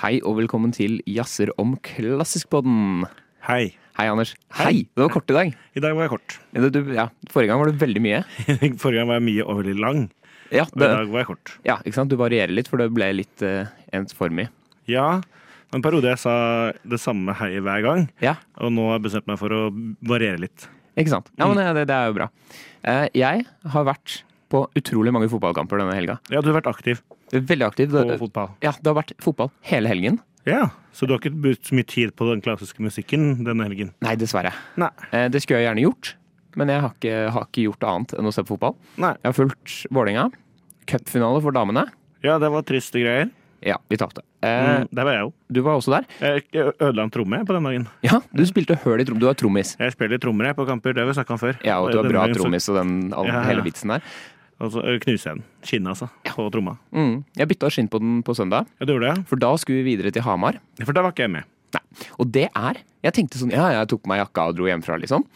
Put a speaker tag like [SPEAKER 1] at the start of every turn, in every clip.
[SPEAKER 1] Hei og velkommen til Jazzer om klassisk-podden.
[SPEAKER 2] Hei.
[SPEAKER 1] Hei, Anders. Hei! Det var kort i dag.
[SPEAKER 2] I dag var jeg kort.
[SPEAKER 1] Du, du- ja, forrige gang var det veldig mye. eh,
[SPEAKER 2] Forrige gang var jeg mye og veldig lang,
[SPEAKER 1] Ja,
[SPEAKER 2] og i
[SPEAKER 1] det,
[SPEAKER 2] dag var jeg kort.
[SPEAKER 1] ja, ikke sant? Du varierer litt, for det ble litt uh, ensformig.
[SPEAKER 2] Ja, det var en periode jeg sa det samme hei hver gang,
[SPEAKER 1] Ja,
[SPEAKER 2] og nå har jeg bestemt meg for å variere litt.
[SPEAKER 1] ikke sant? Ja, men eh, det, det er jo bra. Eh, jeg har vært på utrolig mange fotballkamper denne helga.
[SPEAKER 2] Ja, du har vært aktiv
[SPEAKER 1] Veldig aktiv.
[SPEAKER 2] på
[SPEAKER 1] Det,
[SPEAKER 2] fotball.
[SPEAKER 1] ja, det har vært fotball hele helgen.
[SPEAKER 2] Ja, så du har ikke brukt så mye tid på den klassiske musikken denne helgen?
[SPEAKER 1] Nei, dessverre.
[SPEAKER 2] Nei.
[SPEAKER 1] Eh, det skulle jeg gjerne gjort, men jeg har ikke, har ikke gjort annet enn å se på fotball.
[SPEAKER 2] Nei.
[SPEAKER 1] Jeg har fulgt Vålerenga. Cupfinale for damene.
[SPEAKER 2] Ja, det var triste greier.
[SPEAKER 1] Ja, vi tapte. Eh,
[SPEAKER 2] Mm, der var jeg jo.
[SPEAKER 1] Du var også der.
[SPEAKER 2] Jeg jeg ødela en tromme jeg, på den dagen.
[SPEAKER 1] Ja, du spilte høl i trom. Du er trommis.
[SPEAKER 2] Jeg spiller trommer jeg på kamper, det har vi snakka om før.
[SPEAKER 1] Ja, og du er
[SPEAKER 2] Denne
[SPEAKER 1] bra
[SPEAKER 2] gangen så-
[SPEAKER 1] trommis og den all,
[SPEAKER 2] Ja, ja, ja.
[SPEAKER 1] hele vitsen der.
[SPEAKER 2] Og så ø, knuser jeg den. Kinnet, altså. På tromma.
[SPEAKER 1] Mm. Jeg bytta skinn på den på søndag,
[SPEAKER 2] Ja, du gjorde det?
[SPEAKER 1] for da skulle vi videre til Hamar.
[SPEAKER 2] ja? For da var ikke jeg med.
[SPEAKER 1] Og det er Jeg tenkte sånn Ja, jeg tok på meg jakka og dro hjemmefra, liksom.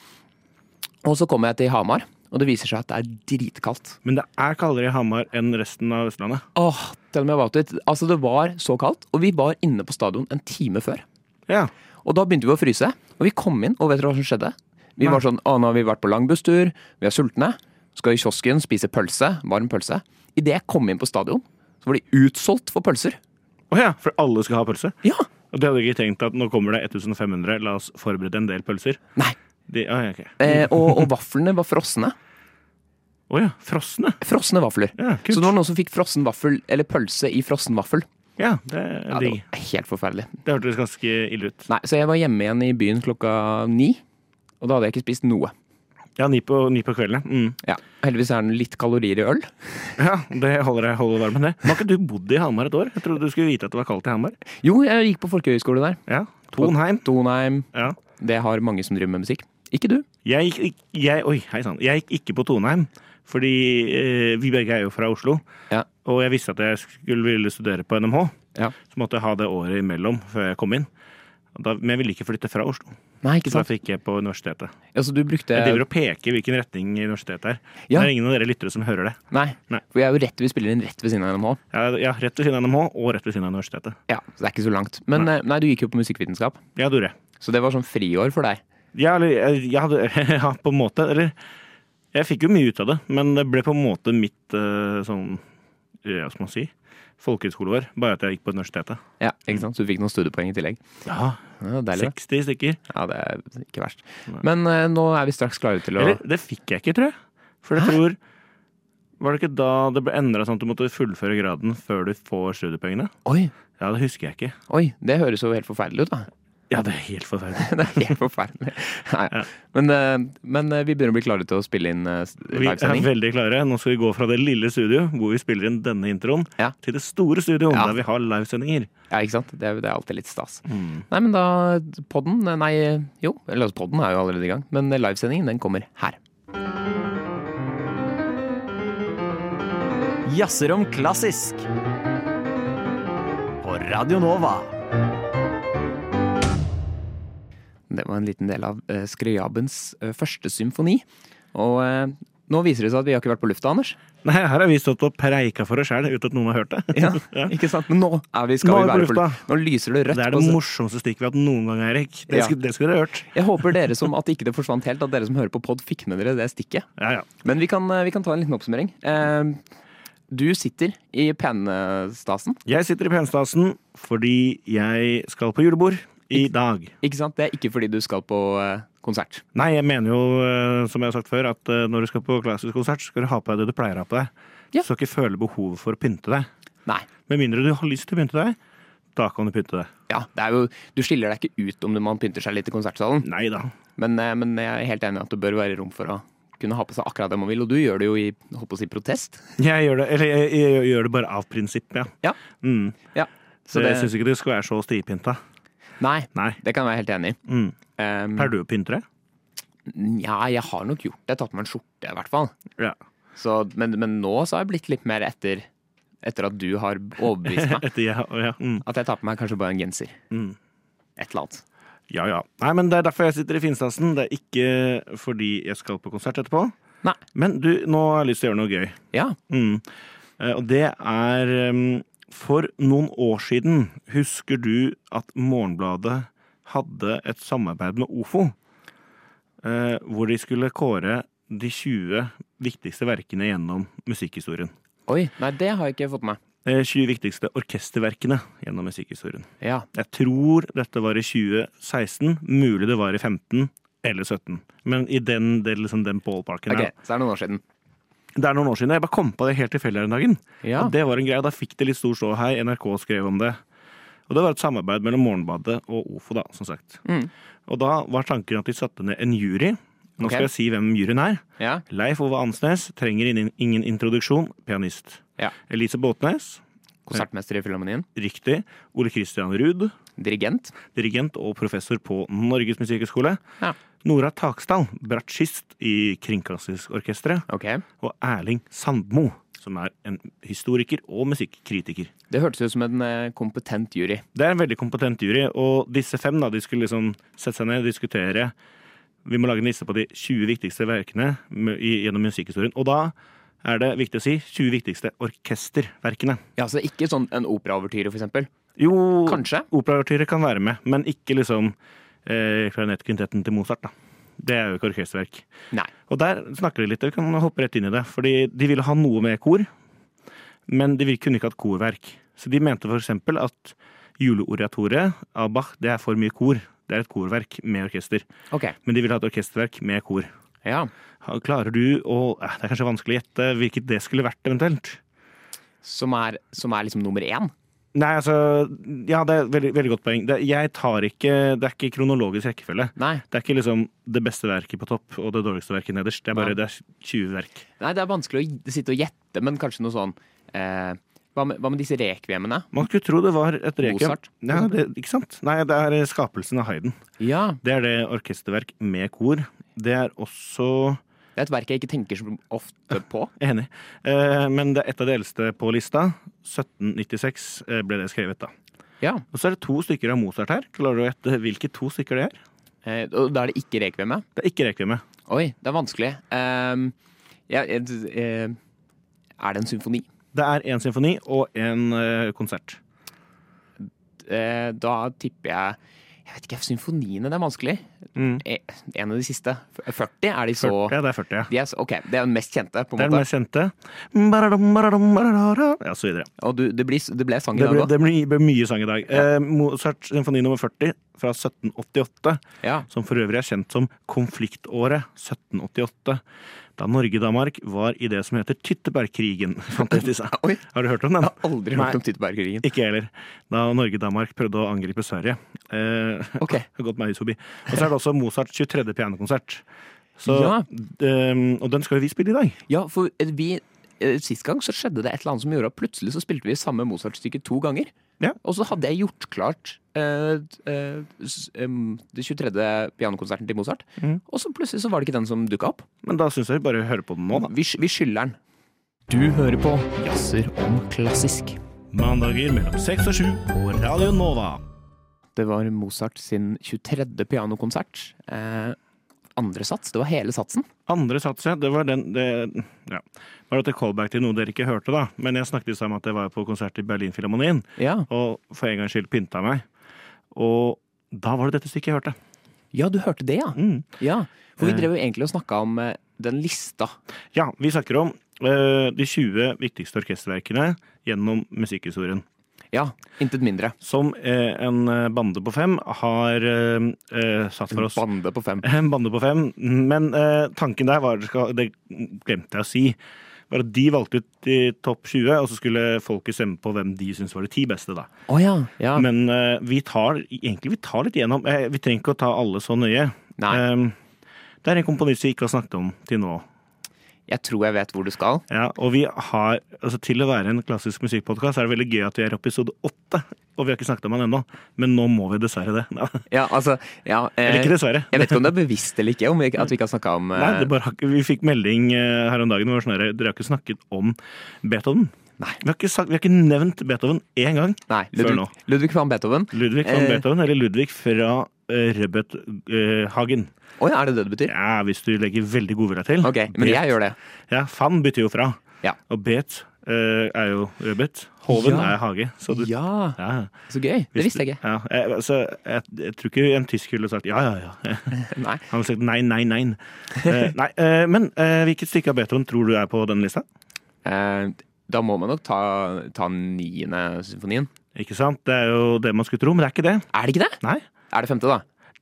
[SPEAKER 1] Og så kom jeg til Hamar, og det viser seg at det er dritkaldt.
[SPEAKER 2] Men det er kaldere i Hamar enn resten av Østlandet.
[SPEAKER 1] Åh, tell me about it. Altså, det var så kaldt, og vi var inne på stadion en time før.
[SPEAKER 2] Ja.
[SPEAKER 1] Og da begynte vi å fryse. Og vi kom inn, og vet dere hva som skjedde? Vi
[SPEAKER 2] Nei.
[SPEAKER 1] var sånn, å nå har vi vært på lang busstur, vi er sultne, skal i kiosken spise pølse, varm pølse. Idet jeg kom inn på stadion, så var de utsolgt for pølser.
[SPEAKER 2] Å ja, for alle skal ha pølse.
[SPEAKER 1] Ja!
[SPEAKER 2] Og de hadde ikke tenkt at nå kommer det 1500, la oss forberede en del pølser.
[SPEAKER 1] Nei.
[SPEAKER 2] De, å ja, ok.
[SPEAKER 1] Eh, og, og vaflene var frosne.
[SPEAKER 2] Å ja, frosne.
[SPEAKER 1] Frosne vafler.
[SPEAKER 2] Ja,
[SPEAKER 1] Så
[SPEAKER 2] kult.
[SPEAKER 1] det var noen som fikk frossen vaffel, eller pølse i frossen vaffel.
[SPEAKER 2] Ja, det
[SPEAKER 1] Ja, det
[SPEAKER 2] er digg.
[SPEAKER 1] var helt forferdelig.
[SPEAKER 2] Det hørtes ganske ille ut.
[SPEAKER 1] Nei, så jeg var hjemme igjen i byen klokka ni, og da hadde jeg ikke spist noe.
[SPEAKER 2] Ja, ni på, ni på kvelden. ja. Mm.
[SPEAKER 1] Ja, Heldigvis er det litt kalorier i øl.
[SPEAKER 2] Ja, det holder jeg holder varmen, det. Men har ikke du bodd i Hamar et år? Jeg trodde du skulle vite at det var kaldt i Hamar.
[SPEAKER 1] Jo, jeg gikk på folkehøyskole der.
[SPEAKER 2] Ja, Tonheim.
[SPEAKER 1] Tonheim.
[SPEAKER 2] Ja.
[SPEAKER 1] Det har mange som driver med musikk. Ikke du.
[SPEAKER 2] Jeg gikk, ikk- jeg, oi, hei sann. Jeg gikk ikke på Tonheim, fordi eh, vi begge er jo fra Oslo.
[SPEAKER 1] Ja.
[SPEAKER 2] Og jeg visste at jeg skulle ville studere på NMH,
[SPEAKER 1] Ja.
[SPEAKER 2] så måtte jeg ha det året imellom før jeg kom inn. Og Da, men jeg ville ikke flytte fra Oslo,
[SPEAKER 1] Nei, ikke
[SPEAKER 2] så da
[SPEAKER 1] sant.
[SPEAKER 2] fikk jeg på universitetet.
[SPEAKER 1] Altså, du brukte
[SPEAKER 2] Jeg driver og peker hvilken retning universitetet er.
[SPEAKER 1] Ja.
[SPEAKER 2] Det er ingen av dere lyttere som hører det.
[SPEAKER 1] Nei,
[SPEAKER 2] Nei.
[SPEAKER 1] for jeg er jo rett, vi spiller inn rett ved siden av NMH.
[SPEAKER 2] Ja, ja, rett ved siden av NMH og rett ved siden av universitetet.
[SPEAKER 1] Ja, så det er ikke så langt. Men nei, nei du gikk jo på musikkvitenskap,
[SPEAKER 2] Ja, Dore.
[SPEAKER 1] så det var sånn friår for deg.
[SPEAKER 2] Ja, eller jeg- ja, det- ja, på en måte. Eller Jeg fikk jo mye ut av det, men det ble på en måte mitt eh, sånn eh, Hva skal man si? Folkehøyskoleår. Bare at jeg gikk på universitetet.
[SPEAKER 1] Ja, ikke sant? Så du fikk noen studiepoeng i tillegg.
[SPEAKER 2] Ja,
[SPEAKER 1] Ja, deilig. det.
[SPEAKER 2] 60 stykker.
[SPEAKER 1] Ja, det er ikke verst. Men eh, nå er vi straks klare til å
[SPEAKER 2] Eller det fikk jeg ikke, tror jeg. For jeg tror Var det ikke da det ble endra sånn at du måtte fullføre graden før du får studiepengene?
[SPEAKER 1] Oi,
[SPEAKER 2] Ja, det husker jeg ikke.
[SPEAKER 1] oi, det høres jo helt forferdelig ut, da.
[SPEAKER 2] Ja, det er helt forferdelig.
[SPEAKER 1] Det er helt forferdelig. Nei. Men, eh, men eh, vi begynner å bli klare til å spille inn eh,
[SPEAKER 2] Vi er
[SPEAKER 1] livesending.
[SPEAKER 2] veldig klare. Nå skal vi gå fra det lille studio hvor vi spiller inn denne introen,
[SPEAKER 1] Ja.
[SPEAKER 2] til det store studioet
[SPEAKER 1] Ja.
[SPEAKER 2] der vi har livesendinger.
[SPEAKER 1] Ja, ikke sant? Det er, det er alltid litt stas. Nei, men da Podden Nei, jo. Eller altså, podden er jo allerede i gang. Men livesendingen, den kommer her.
[SPEAKER 3] Jazzer om klassisk. På Radio Nova.
[SPEAKER 1] Det var en liten del av uh, Skriabens eh, første symfoni. Og eh, nå viser det seg at vi har ikke vært på lufta, Anders.
[SPEAKER 2] Nei, her har vi stått og preika for oss sjæl uten at noen har hørt det.
[SPEAKER 1] Ja, ikke sant? Men nå er vi, skal
[SPEAKER 2] Nå er
[SPEAKER 1] vi være
[SPEAKER 2] vi på
[SPEAKER 1] på lufta. Nå lyser det rødt.
[SPEAKER 2] Det er
[SPEAKER 1] på
[SPEAKER 2] det
[SPEAKER 1] oss.
[SPEAKER 2] morsomste stikket vi har hatt noen gang, Erik. Det,
[SPEAKER 1] Ja.
[SPEAKER 2] skulle, det skulle dere hørt.
[SPEAKER 1] Jeg håper dere som at ikke det forsvant helt, at dere som hører på pod, fikk med dere det stikket.
[SPEAKER 2] Ja, ja.
[SPEAKER 1] Men vi kan, eh, vi kan ta en liten oppsummering. Eh, du sitter i penestasen.
[SPEAKER 2] Jeg sitter i penstasen fordi jeg skal på julebord i dag.
[SPEAKER 1] Ikke sant? Det er ikke fordi du skal på eh, konsert.
[SPEAKER 2] Nei, jeg mener jo, eh, som jeg har sagt før, at eh, når du skal på klassisk konsert, så skal du ha på deg det du pleier å ha på deg.
[SPEAKER 1] Ja.
[SPEAKER 2] Du skal ikke føle behov for å pynte deg.
[SPEAKER 1] Nei.
[SPEAKER 2] Med mindre du har lyst til å pynte deg, da kan du pynte deg.
[SPEAKER 1] Ja, det er jo, du skiller deg ikke ut om man pynter seg litt i konsertsalen,
[SPEAKER 2] Nei da.
[SPEAKER 1] men, eh, men jeg er helt enig i at det bør være rom for å kunne ha på seg akkurat det man vil, og du gjør det jo i holdt på å si, protest.
[SPEAKER 2] Jeg gjør det, eller jeg, jeg, jeg gjør det bare av prinsipp, ja.
[SPEAKER 1] Ja.
[SPEAKER 2] Mm.
[SPEAKER 1] ja.
[SPEAKER 2] Så
[SPEAKER 1] Så det,
[SPEAKER 2] jeg syns ikke du skal være så stivpynta.
[SPEAKER 1] nei,
[SPEAKER 2] Nei.
[SPEAKER 1] det kan jeg være helt enig i.
[SPEAKER 2] Mm.
[SPEAKER 1] Um,
[SPEAKER 2] Pleier du å pynte deg?
[SPEAKER 1] ja, jeg har nok gjort det. Jeg har tatt på meg en skjorte, i hvert fall.
[SPEAKER 2] Ja.
[SPEAKER 1] Så, men, men nå så har jeg blitt litt mer etter, etter at du har overbevist meg.
[SPEAKER 2] Etter jeg, ja, mm.
[SPEAKER 1] At jeg tar på meg kanskje bare en genser.
[SPEAKER 2] Mm.
[SPEAKER 1] Et eller annet.
[SPEAKER 2] ja ja. Nei, men det er derfor jeg sitter i finstasen. Det er ikke fordi jeg skal på konsert etterpå.
[SPEAKER 1] Nei.
[SPEAKER 2] Men du, nå har jeg lyst til å gjøre noe gøy.
[SPEAKER 1] Ja.
[SPEAKER 2] Mm. Eh, Og det er um, For noen år siden husker du at Morgenbladet hadde et samarbeid med OFO, eh, hvor de skulle kåre de 20 viktigste verkene gjennom musikkhistorien.
[SPEAKER 1] Oi, nei, det har jeg ikke fått med meg.
[SPEAKER 2] Eh, 20 viktigste orkesterverkene gjennom musikkhistorien.
[SPEAKER 1] Ja.
[SPEAKER 2] Jeg tror dette var i 2016, mulig det var i 15 eller 17. Men i den, det er liksom den ballparken
[SPEAKER 1] Ok,
[SPEAKER 2] her.
[SPEAKER 1] så er det noen år siden.
[SPEAKER 2] Det er noen år siden. Jeg bare kom på det helt tilfeldig her en dagen.
[SPEAKER 1] Ja.
[SPEAKER 2] Og det var en greie, Da fikk det litt stor ståhei. NRK skrev om det. Og Det var et samarbeid mellom Morgenbadet og OFO, da, som sagt.
[SPEAKER 1] Mm.
[SPEAKER 2] Og Da var tanken at de satte ned en jury. Nå
[SPEAKER 1] Ok.
[SPEAKER 2] skal jeg si hvem juryen er.
[SPEAKER 1] Ja.
[SPEAKER 2] Leif Ove Ansnes trenger ingen ingen introduksjon. Pianist.
[SPEAKER 1] Ja.
[SPEAKER 2] Elise Båtnes.
[SPEAKER 1] Konsertmester i Filharmonien.
[SPEAKER 2] Riktig. Ole Christian Ruud.
[SPEAKER 1] Dirigent.
[SPEAKER 2] Dirigent og professor på Norges Musikkhøgskole.
[SPEAKER 1] Ja.
[SPEAKER 2] Nora Taksdal, bratsjist i Kringkastingsorkesteret.
[SPEAKER 1] Ok.
[SPEAKER 2] og Erling Sandmo, som er en historiker og musikkritiker.
[SPEAKER 1] Det hørtes ut som en eh, kompetent jury.
[SPEAKER 2] Det er en veldig kompetent jury, og disse fem da, de skulle liksom sette seg ned og diskutere Vi må lage en liste på de 20 viktigste verkene med- i- gjennom musikkhistorien. Og da er det viktig å si 20 viktigste orkesterverkene.
[SPEAKER 1] Ja, så Ikke sånn en operaovertyre, for eksempel.
[SPEAKER 2] Jo,
[SPEAKER 1] Kanskje.
[SPEAKER 2] operaartyrer kan være med, men ikke liksom eh, klarinettkvintetten til Mozart, da. Det er jo ikke orkesterverk.
[SPEAKER 1] Nei.
[SPEAKER 2] Og der snakker de litt, vi kan hoppe rett inn i det. Fordi de ville ha noe med kor, men de vil- kunne ikke ha et korverk. Så de mente f.eks. at juleoratoriet av Bach det er for mye kor. Det er et korverk med orkester.
[SPEAKER 1] Ok.
[SPEAKER 2] Men de vil ha et orkesterverk med kor.
[SPEAKER 1] Ja.
[SPEAKER 2] Ha- Klarer du å eh, Det er kanskje vanskelig å gjette hvilket det skulle vært, eventuelt.
[SPEAKER 1] Som er, som er liksom nummer én.
[SPEAKER 2] Nei, altså Ja, det er et veldig, veldig godt poeng. Det, jeg tar ikke Det er ikke kronologisk rekkefølge.
[SPEAKER 1] Nei.
[SPEAKER 2] Det er ikke liksom det beste verket på topp og det dårligste verket nederst. Det er
[SPEAKER 1] Nei.
[SPEAKER 2] bare det er 20 verk.
[SPEAKER 1] Nei, det er vanskelig å gi- sitte og gjette, men kanskje noe sånn eh, hva, med, hva med disse rekviemene?
[SPEAKER 2] Man skulle tro det var et requiem.
[SPEAKER 1] Mozart?
[SPEAKER 2] Ja, det, ikke sant? Nei, det er skapelsen av Hayden.
[SPEAKER 1] Ja.
[SPEAKER 2] Det er det orkesterverk med kor. Det er også
[SPEAKER 1] Det er et verk jeg ikke tenker så ofte på.
[SPEAKER 2] jeg er Enig. Eh, men det er et av de eldste på lista. 1796 eh, ble det skrevet, da.
[SPEAKER 1] Ja.
[SPEAKER 2] Og så er det to stykker av Mozart her. Klarer du å gjette hvilke to stykker det er?
[SPEAKER 1] Eh, og da er det ikke rekviemet.
[SPEAKER 2] Det er ikke rekviemet.
[SPEAKER 1] Oi, det er vanskelig. Ehm, ja, eh, d- eh, er det en symfoni?
[SPEAKER 2] Det er én symfoni og én eh, konsert.
[SPEAKER 1] Eh, da tipper jeg Jeg vet ikke, symfoniene, det er vanskelig.
[SPEAKER 2] Mm.
[SPEAKER 1] Eh, En av de siste. F- 40 er de så
[SPEAKER 2] Ja, det er 40, ja.
[SPEAKER 1] de er, så- OK, det er den mest kjente, på
[SPEAKER 2] Det
[SPEAKER 1] en
[SPEAKER 2] er den
[SPEAKER 1] måte.
[SPEAKER 2] mest kjente. Baradam, baradam, barara, Ja, så videre.
[SPEAKER 1] Og du, det, blir, s- det ble sang i
[SPEAKER 2] Det
[SPEAKER 1] dag
[SPEAKER 2] ble,
[SPEAKER 1] òg.
[SPEAKER 2] det ble ble mye sang i dag. Eh, Mozart symfoni nummer 40 fra 1788.
[SPEAKER 1] Ja.
[SPEAKER 2] som for øvrig er kjent som konfliktåret 1788, da Norge-Danmark var i det som heter Tyttebergkrigen. fant jeg til seg.
[SPEAKER 1] Oi.
[SPEAKER 2] Har du hørt om den?
[SPEAKER 1] Aldri
[SPEAKER 2] Nei.
[SPEAKER 1] hørt om Tyttebergkrigen.
[SPEAKER 2] Ikke jeg heller. Da Norge-Danmark prøvde å angripe Sverige. Eh,
[SPEAKER 1] Ok.
[SPEAKER 2] har gått meg hus forbi. Og så er det også Mozarts 23. pianokonsert. Så,
[SPEAKER 1] Ja.
[SPEAKER 2] eh, og den skal jo vi spille i dag.
[SPEAKER 1] Ja, for eh, vi eh, Sist gang så skjedde det et eller annet som gjorde at plutselig så spilte vi samme Mozart-stykke to ganger.
[SPEAKER 2] Ja.
[SPEAKER 1] Og så hadde jeg gjort klart eh, eh, s- em, det 23. pianokonserten til Mozart,
[SPEAKER 2] Mhm.
[SPEAKER 1] og så plutselig så var det ikke den som dukka opp.
[SPEAKER 2] Men da syns jeg vi bare hører på den nå, da.
[SPEAKER 1] Vi, sk- vi skylder den. Du hører på Jazzer om klassisk.
[SPEAKER 2] Mandager mellom seks og sju på Radio Nova.
[SPEAKER 1] Det var Mozart sin 23. pianokonsert. Eh, andre sats. Det var hele satsen.
[SPEAKER 2] Andre sats, ja. Det var den det, ja. Var dette callback til noe dere ikke hørte, da? Men jeg snakket i stad om at jeg var på konsert i Berlinfilharmonien,
[SPEAKER 1] Ja.
[SPEAKER 2] og for en gangs skyld pynta meg. Og da var det dette stykket jeg hørte.
[SPEAKER 1] ja, du hørte det, ja.
[SPEAKER 2] Mm.
[SPEAKER 1] ja. For vi
[SPEAKER 2] Eh.
[SPEAKER 1] drev jo egentlig og snakka om eh, den lista.
[SPEAKER 2] Ja, vi snakker om eh, de 20 viktigste orkesterverkene gjennom musikkhistorien.
[SPEAKER 1] Ja, intet mindre.
[SPEAKER 2] Som eh, en eh, bande på fem har eh, eh, satt for oss.
[SPEAKER 1] Bande på fem.
[SPEAKER 2] En bande på fem. Men eh, tanken der var, skal- det glemte jeg å si, var at de valgte ut de topp 20, og så skulle folket stemme på hvem de syntes var de ti beste, da.
[SPEAKER 1] Å ja. ja.
[SPEAKER 2] Men eh, vi tar egentlig vi tar litt gjennom. Eh, vi trenger ikke å ta alle så nøye.
[SPEAKER 1] Nei,
[SPEAKER 2] Eh, det er en komponist vi ikke har snakket om til nå.
[SPEAKER 1] jeg tror jeg vet hvor du skal.
[SPEAKER 2] Ja, og vi har, altså Til å være en klassisk musikkpodkast er det veldig gøy at vi er i episode åtte. Og vi har ikke snakket om han ennå, men nå må vi dessverre det. Nei,
[SPEAKER 1] Ja, altså ja, eh,
[SPEAKER 2] Eller ikke dessverre.
[SPEAKER 1] Jeg vet ikke om det er bevisst eller ikke, om vi, ikke- at vi ikke har snakka om eh,
[SPEAKER 2] Nei, det bare, har ikke- vi fikk melding eh, her om dagen. hvor det var sånn her, Dere har ikke snakket om Beethoven.
[SPEAKER 1] Nei.
[SPEAKER 2] Vi har ikke, sagt, vi har ikke nevnt Beethoven én gang.
[SPEAKER 1] nei,
[SPEAKER 2] Før
[SPEAKER 1] Ludvig,
[SPEAKER 2] nå.
[SPEAKER 1] Ludvig van Beethoven.
[SPEAKER 2] Ludvig van
[SPEAKER 1] Eh.
[SPEAKER 2] Beethoven, eller Ludvig fra eh, Rødbethagen.
[SPEAKER 1] Å ja, er det det det betyr?
[SPEAKER 2] ja, hvis du legger veldig godvilje til.
[SPEAKER 1] Ok, men jeg gjør det.
[SPEAKER 2] Ja, Van betyr jo fra.
[SPEAKER 1] Ja.
[SPEAKER 2] Og bet eh, er jo rødbet. Hoven
[SPEAKER 1] Ja.
[SPEAKER 2] er hage. Så du,
[SPEAKER 1] Ja,
[SPEAKER 2] ja.
[SPEAKER 1] så gøy. Det visste jeg ikke.
[SPEAKER 2] Ja, jeg, så jeg, jeg tror ikke en tysk ville sagt ja, ja, ja.
[SPEAKER 1] Nei.
[SPEAKER 2] Han ville sagt nei, nei, nei. Eh, nei eh, men eh, hvilket stykke av Beethoven tror du er på denne lista?
[SPEAKER 1] Eh, Da må man nok ta, ta niende symfonien.
[SPEAKER 2] Ikke sant? Det er jo det man skulle tro, men det er ikke det.
[SPEAKER 1] Er det ikke det?
[SPEAKER 2] Nei.
[SPEAKER 1] Er det femte, da?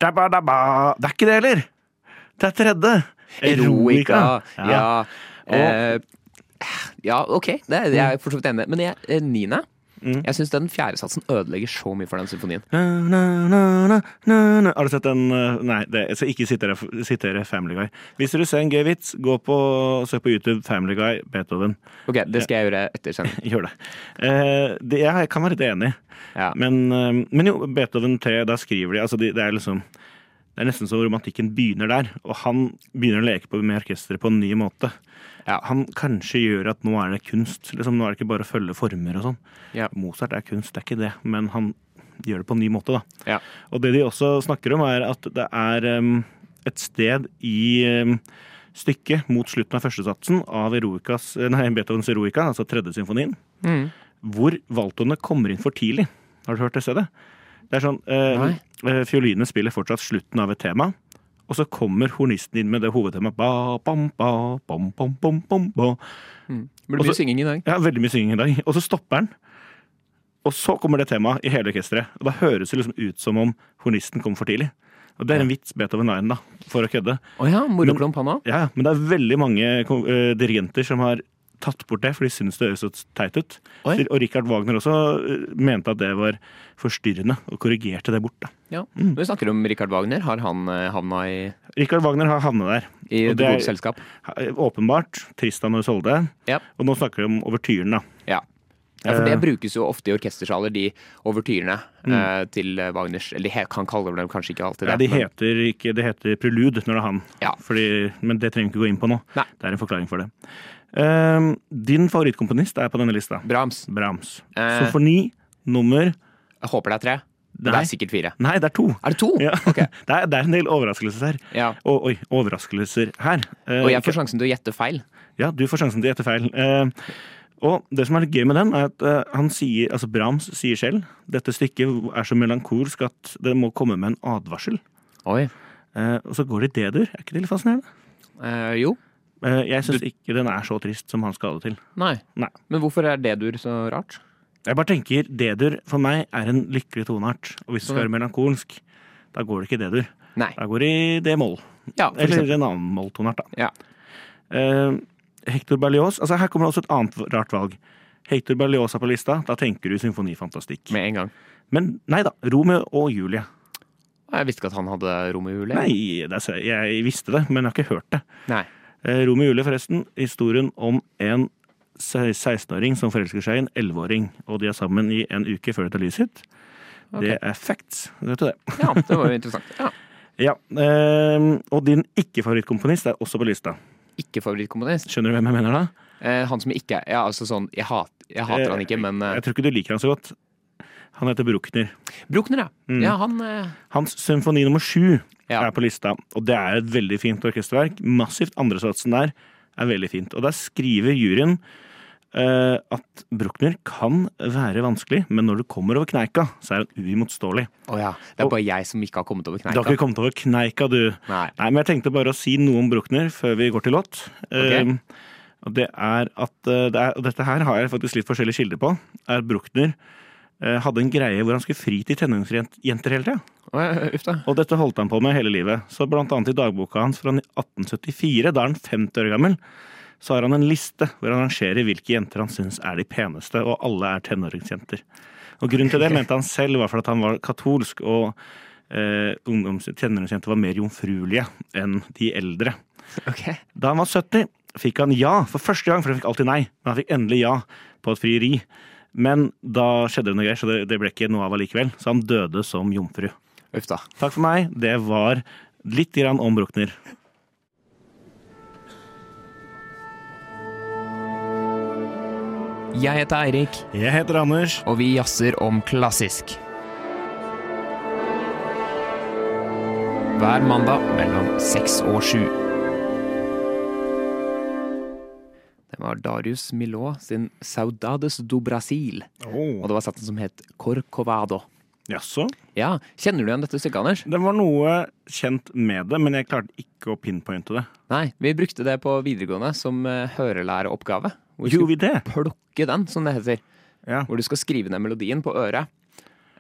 [SPEAKER 2] Dabba, dabba. Det er ikke det heller! Det er tredje.
[SPEAKER 1] Ja. Ja. Eh, ja, OK. Det er jeg er for så vidt enig i. Men jeg, eh, niende
[SPEAKER 2] Mm.
[SPEAKER 1] Jeg syns den fjerde satsen ødelegger så mye for den symfonien.
[SPEAKER 2] Na, na, na, na, na, na. Har du sett den eh, Nei, det, jeg skal ikke sitere, sitere Family Guy. Hvis dere ser en gøy vits, gå på, søk på YouTube Family Guy Beethoven.
[SPEAKER 1] Ok, Det skal jeg gjøre etter sending.
[SPEAKER 2] Gjør det. Eh, det jeg kan være litt enig,
[SPEAKER 1] Ja.
[SPEAKER 2] men, eh, men jo, Beethoven 3, da skriver de altså de, Det er liksom det er nesten så romantikken begynner der, og han begynner å leke på med orkesteret på en ny måte.
[SPEAKER 1] Ja.
[SPEAKER 2] Han kanskje gjør at nå er det kunst, liksom, nå er det ikke bare å følge former og sånn.
[SPEAKER 1] Ja.
[SPEAKER 2] Mozart er kunst, det er ikke det, men han gjør det på en ny måte, da.
[SPEAKER 1] Ja.
[SPEAKER 2] Og det de også snakker om, er at det er em, et sted i em, stykket mot slutten av førstesatsen av Eroicas, nei, Beethovens Eroica, altså tredje symfonien,
[SPEAKER 1] Mm.
[SPEAKER 2] hvor valtoene kommer inn for tidlig. Har du hørt det stedet? Det er sånn uh,
[SPEAKER 1] Nei.
[SPEAKER 2] Fiolinene spiller fortsatt slutten av et tema, og så kommer hornisten inn med det hovedtemaet. Ba, bam, ba, bam, bam, bam, bam, ba.
[SPEAKER 1] Blir det
[SPEAKER 2] Også-
[SPEAKER 1] mye synging i dag?
[SPEAKER 2] Ja, veldig mye synging i dag. Og så stopper den. Og så kommer det temaet i hele orkesteret. Og da høres det liksom ut som om hornisten kom for tidlig. Og det er en vits Beethoven 9, da, for å kødde.
[SPEAKER 1] Å ja, moroklump han òg?
[SPEAKER 2] Ja, ja, Men det er veldig mange kom- eh, dirigenter som har tatt bort det, for de syns det høres så teit ut.
[SPEAKER 1] Oi.
[SPEAKER 2] Og Richard Wagner også eh, mente at det var forstyrrende, og korrigerte det bort. da.
[SPEAKER 1] Ja.
[SPEAKER 2] Mm.
[SPEAKER 1] Når vi snakker om Richard Wagner, har han eh, havna i,
[SPEAKER 2] Richard Wagner har havnet der.
[SPEAKER 1] i det
[SPEAKER 2] Og det er-
[SPEAKER 1] gode selskap?
[SPEAKER 2] Åpenbart. Tristan og Isolde.
[SPEAKER 1] Ja.
[SPEAKER 2] Og nå snakker vi om overtyren, da.
[SPEAKER 1] Ja. ja, for det
[SPEAKER 2] Eh. Mm.
[SPEAKER 1] brukes jo ofte i orkestersaler, de overtyrene eh, til eh, Wagners Eller de he- han kaller dem kanskje ikke alltid det.
[SPEAKER 2] Ja, de
[SPEAKER 1] men-
[SPEAKER 2] heter ikke Det heter prelude når det er han.
[SPEAKER 1] Ja.
[SPEAKER 2] Fordi, men det trenger vi ikke gå inn på nå.
[SPEAKER 1] Nei.
[SPEAKER 2] Det er en forklaring for det. Ehm, din favorittkomponist er på denne lista.
[SPEAKER 1] Brahms.
[SPEAKER 2] Brahms.
[SPEAKER 1] Eh.
[SPEAKER 2] Sofoni nummer
[SPEAKER 1] Jeg håper det er tre. men Det
[SPEAKER 2] Nei.
[SPEAKER 1] er sikkert fire.
[SPEAKER 2] Nei, det er to!
[SPEAKER 1] Er det to?
[SPEAKER 2] Ja.
[SPEAKER 1] Ok.
[SPEAKER 2] Det, er, det er en del overraskelser her.
[SPEAKER 1] Ja.
[SPEAKER 2] Å, oi, overraskelser her. Eh,
[SPEAKER 1] Og jeg
[SPEAKER 2] ikke-
[SPEAKER 1] får sjansen til å gjette feil.
[SPEAKER 2] Ja, du får sjansen til å gjette feil. Eh, og det som er litt gøy med den, er at eh, han sier, altså Brahms sier selv dette stykket er så melankolsk at det må komme med en advarsel.
[SPEAKER 1] Oi.
[SPEAKER 2] Eh, og så går det i D-dur. Er ikke det litt fascinerende?
[SPEAKER 1] Eh, jo.
[SPEAKER 2] Eh, Jeg syns ikke den er så trist som han skal ha det til.
[SPEAKER 1] Nei.
[SPEAKER 2] Nei.
[SPEAKER 1] Men hvorfor er D-dur så rart?
[SPEAKER 2] Jeg bare tenker, D-dur for meg er en lykkelig toneart. Og hvis det skal være melankolsk, da går det ikke i D-dur.
[SPEAKER 1] Nei.
[SPEAKER 2] Da går det i D-moll.
[SPEAKER 1] Ja, for
[SPEAKER 2] Eller
[SPEAKER 1] eksempel.
[SPEAKER 2] en annen molltoneart, da.
[SPEAKER 1] Ja.
[SPEAKER 2] Eh, Hector Berlioz altså Her kommer det også et annet rart valg. Hector Berlioz er på lista. Da tenker du symfonifantastikk.
[SPEAKER 1] Med en gang.
[SPEAKER 2] Men nei da. Romeo og Julie.
[SPEAKER 1] Jeg visste ikke at han hadde rom i hulet.
[SPEAKER 2] Nei, det er, så- jeg visste det, men jeg har ikke hørt det.
[SPEAKER 1] Nei.
[SPEAKER 2] Eh, Romeo og Julie, forresten. Historien om en se- 16-åring som forelsker seg i en 11-åring, og de er sammen i en uke før det tar lyset. Det er facts. Vet du det?
[SPEAKER 1] Ja, det var jo interessant. Ja.
[SPEAKER 2] Ja, ehm, Og din ikke-favorittkomponist er også på lista.
[SPEAKER 1] Ikke favorittkomponist.
[SPEAKER 2] Skjønner du hvem jeg mener da?
[SPEAKER 1] Eh, han som ikke er ja, altså sånn, jeg, hat, jeg hater han ikke, men eh,
[SPEAKER 2] Jeg tror ikke du liker han så godt. Han heter Bruckner.
[SPEAKER 1] Bruckner, ja.
[SPEAKER 2] mm.
[SPEAKER 1] Ja, han eh,
[SPEAKER 2] Hans symfoni nummer sju
[SPEAKER 1] Ja.
[SPEAKER 2] er på lista, og det er et veldig fint orkesterverk. Massivt. Andresatsen der er veldig fint. Og der skriver juryen eh, at Bruckner kan være vanskelig, men når du kommer over kneika, så er han uimotståelig.
[SPEAKER 1] Å ja. Det er bare jeg som ikke har kommet over
[SPEAKER 2] Du har ikke
[SPEAKER 1] kneika.
[SPEAKER 2] kommet over kneika, du.
[SPEAKER 1] Nei.
[SPEAKER 2] Nei, men jeg tenkte bare å si noe om Bruckner før vi går til låt. Eh, og det er at eh, det er, og Dette her har jeg faktisk litt forskjellige kilder på. Er Bruckner eh, hadde en greie hvor han skulle fri til tenåringsjenter hele tida.
[SPEAKER 1] Å, Uff da.
[SPEAKER 2] Og dette holdt han på med hele livet. Så blant annet i dagboka hans fra 1874, da er han 50 år gammel, så har han en liste hvor han rangerer hvilke jenter han syns er de peneste, og alle er tenåringsjenter. Og grunnen til det mente han selv var for at han var katolsk, og eh, ungdoms- tenåringsjenter var mer jomfruelige enn de eldre.
[SPEAKER 1] Ok.
[SPEAKER 2] Da han var 70, fikk han ja for første gang, for han fikk alltid nei. Men han fikk endelig ja på et frieri. Men da skjedde det noe greier, så det, det ble ikke noe av allikevel. Så han døde som jomfru.
[SPEAKER 1] Uff da.
[SPEAKER 2] Takk for meg. Det var litt grann om Bruckner.
[SPEAKER 1] Jeg heter Eirik,
[SPEAKER 2] Jeg heter Anders.
[SPEAKER 1] og vi jazzer om klassisk. Hver mandag mellom seks og sju. Den var var Darius Milhaud sin Saudades do Brasil. Og
[SPEAKER 2] Åh.
[SPEAKER 1] det var satsen som het Corcovado.
[SPEAKER 2] Jaså?
[SPEAKER 1] Ja, Kjenner du igjen dette stykket, Anders?
[SPEAKER 2] Det var noe kjent med det, men jeg klarte ikke å pinpointe det.
[SPEAKER 1] Nei, vi brukte det på videregående som eh, hørelæreoppgave. Hvor vi
[SPEAKER 2] Gjorde
[SPEAKER 1] skulle
[SPEAKER 2] vi det?
[SPEAKER 1] plukke den, som det heter.
[SPEAKER 2] Ja.
[SPEAKER 1] Hvor du skal skrive ned melodien på øret.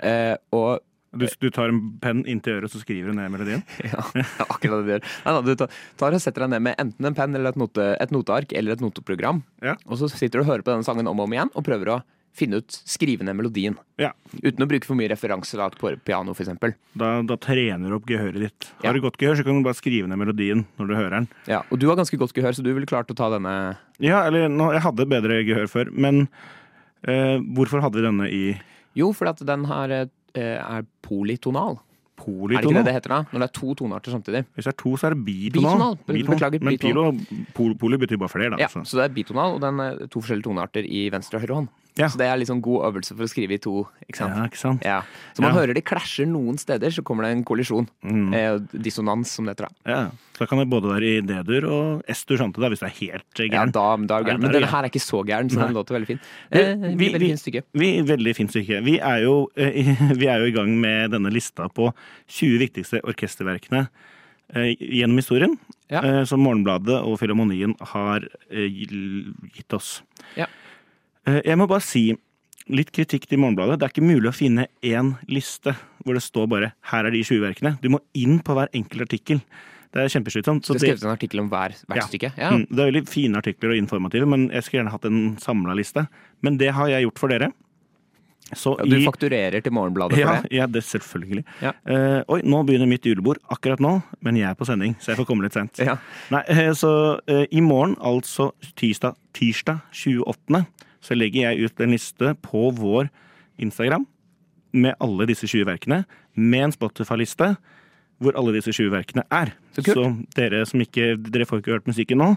[SPEAKER 1] Eh, og
[SPEAKER 2] Du, du tar en penn inntil øret, så skriver du ned melodien?
[SPEAKER 1] Ja, akkurat det du gjør. Nei, da, du tar- tar og setter deg ned med enten en penn eller et, note, et noteark eller et noteprogram.
[SPEAKER 2] Ja.
[SPEAKER 1] Og så sitter du og hører på denne sangen om og om igjen og prøver å finne ut skrive ned melodien.
[SPEAKER 2] Ja.
[SPEAKER 1] Uten å bruke for mye referanser da, på piano, for eksempel.
[SPEAKER 2] Da, da trener du opp gehøret ditt.
[SPEAKER 1] Ja.
[SPEAKER 2] Har du godt gehør, så kan du bare skrive ned melodien når du hører den.
[SPEAKER 1] Ja, og du har ganske godt gehør, så du ville klart å ta denne
[SPEAKER 2] Ja, eller nå, jeg hadde bedre gehør før, men eh, hvorfor hadde vi denne i
[SPEAKER 1] Jo, fordi at den har, eh, er politonal. Er det ikke det
[SPEAKER 2] politonal?
[SPEAKER 1] det heter da? Når det er to tonearter samtidig.
[SPEAKER 2] Hvis det er to, så er det bitonal.
[SPEAKER 1] Bitonal, be- beklager,
[SPEAKER 2] Men pilo,
[SPEAKER 1] bitonal.
[SPEAKER 2] pol, poli betyr bare flere, da. altså.
[SPEAKER 1] Ja,
[SPEAKER 2] så.
[SPEAKER 1] Så det er bitonal, og den er to forskjellige tonearter i venstre og høyre hånd.
[SPEAKER 2] Ja.
[SPEAKER 1] Så det er liksom god øvelse for å skrive i to. ikke sant?
[SPEAKER 2] Ja, ikke sant?
[SPEAKER 1] Ja. Så man
[SPEAKER 2] Ja.
[SPEAKER 1] hører de klasjer noen steder, så kommer det en kollisjon.
[SPEAKER 2] Mm.
[SPEAKER 1] Eh, dissonans, som det heter. da.
[SPEAKER 2] Ja. Så da kan det både være i D-dur og S-dur samtidig, da, hvis du er helt eh,
[SPEAKER 1] Ja,
[SPEAKER 2] gæren.
[SPEAKER 1] da, da er det
[SPEAKER 2] Ja,
[SPEAKER 1] gæren.
[SPEAKER 2] da er
[SPEAKER 1] Men
[SPEAKER 2] det
[SPEAKER 1] denne her er ikke så gæren, så den låter veldig fin.
[SPEAKER 2] Vi-
[SPEAKER 1] Eh,
[SPEAKER 2] vi-
[SPEAKER 1] veldig
[SPEAKER 2] vi-
[SPEAKER 1] fint stykke.
[SPEAKER 2] Vi, veldig fint stykke. Vi er, jo, eh, vi er jo i gang med denne lista på 20 viktigste orkesterverkene eh, gjennom historien,
[SPEAKER 1] Ja.
[SPEAKER 2] eh, som Morgenbladet og Filharmonien har eh, gitt oss.
[SPEAKER 1] Ja.
[SPEAKER 2] Eh, Jeg må bare si litt kritikk til Morgenbladet. Det er ikke mulig å finne én liste hvor det står bare 'her er de 20 verkene'. Du må inn på hver enkelt artikkel. Det er kjempeslitsomt. så
[SPEAKER 1] Det er skrevet en artikkel om hver, hvert
[SPEAKER 2] Ja.
[SPEAKER 1] stykke. Ja.
[SPEAKER 2] Mm, Det er veldig fine artikler og informative, men jeg skulle gjerne hatt en samla liste. Men det har jeg gjort for dere. Så
[SPEAKER 1] Ja, Du
[SPEAKER 2] i-
[SPEAKER 1] fakturerer til Morgenbladet for
[SPEAKER 2] ja,
[SPEAKER 1] det?
[SPEAKER 2] ja, det selvfølgelig.
[SPEAKER 1] Ja.
[SPEAKER 2] Eh, oi, nå begynner mitt julebord akkurat nå, men jeg er på sending, så jeg får komme litt sent.
[SPEAKER 1] Ja.
[SPEAKER 2] Nei, eh, så eh, i morgen, altså tirsdag, tirsdag 28., så legger jeg ut en liste på vår Instagram med alle disse 20 verkene, med en Spotify-liste hvor alle disse 20 verkene er.
[SPEAKER 1] Så kult.
[SPEAKER 2] dere som ikke Dere får ikke hørt musikken nå,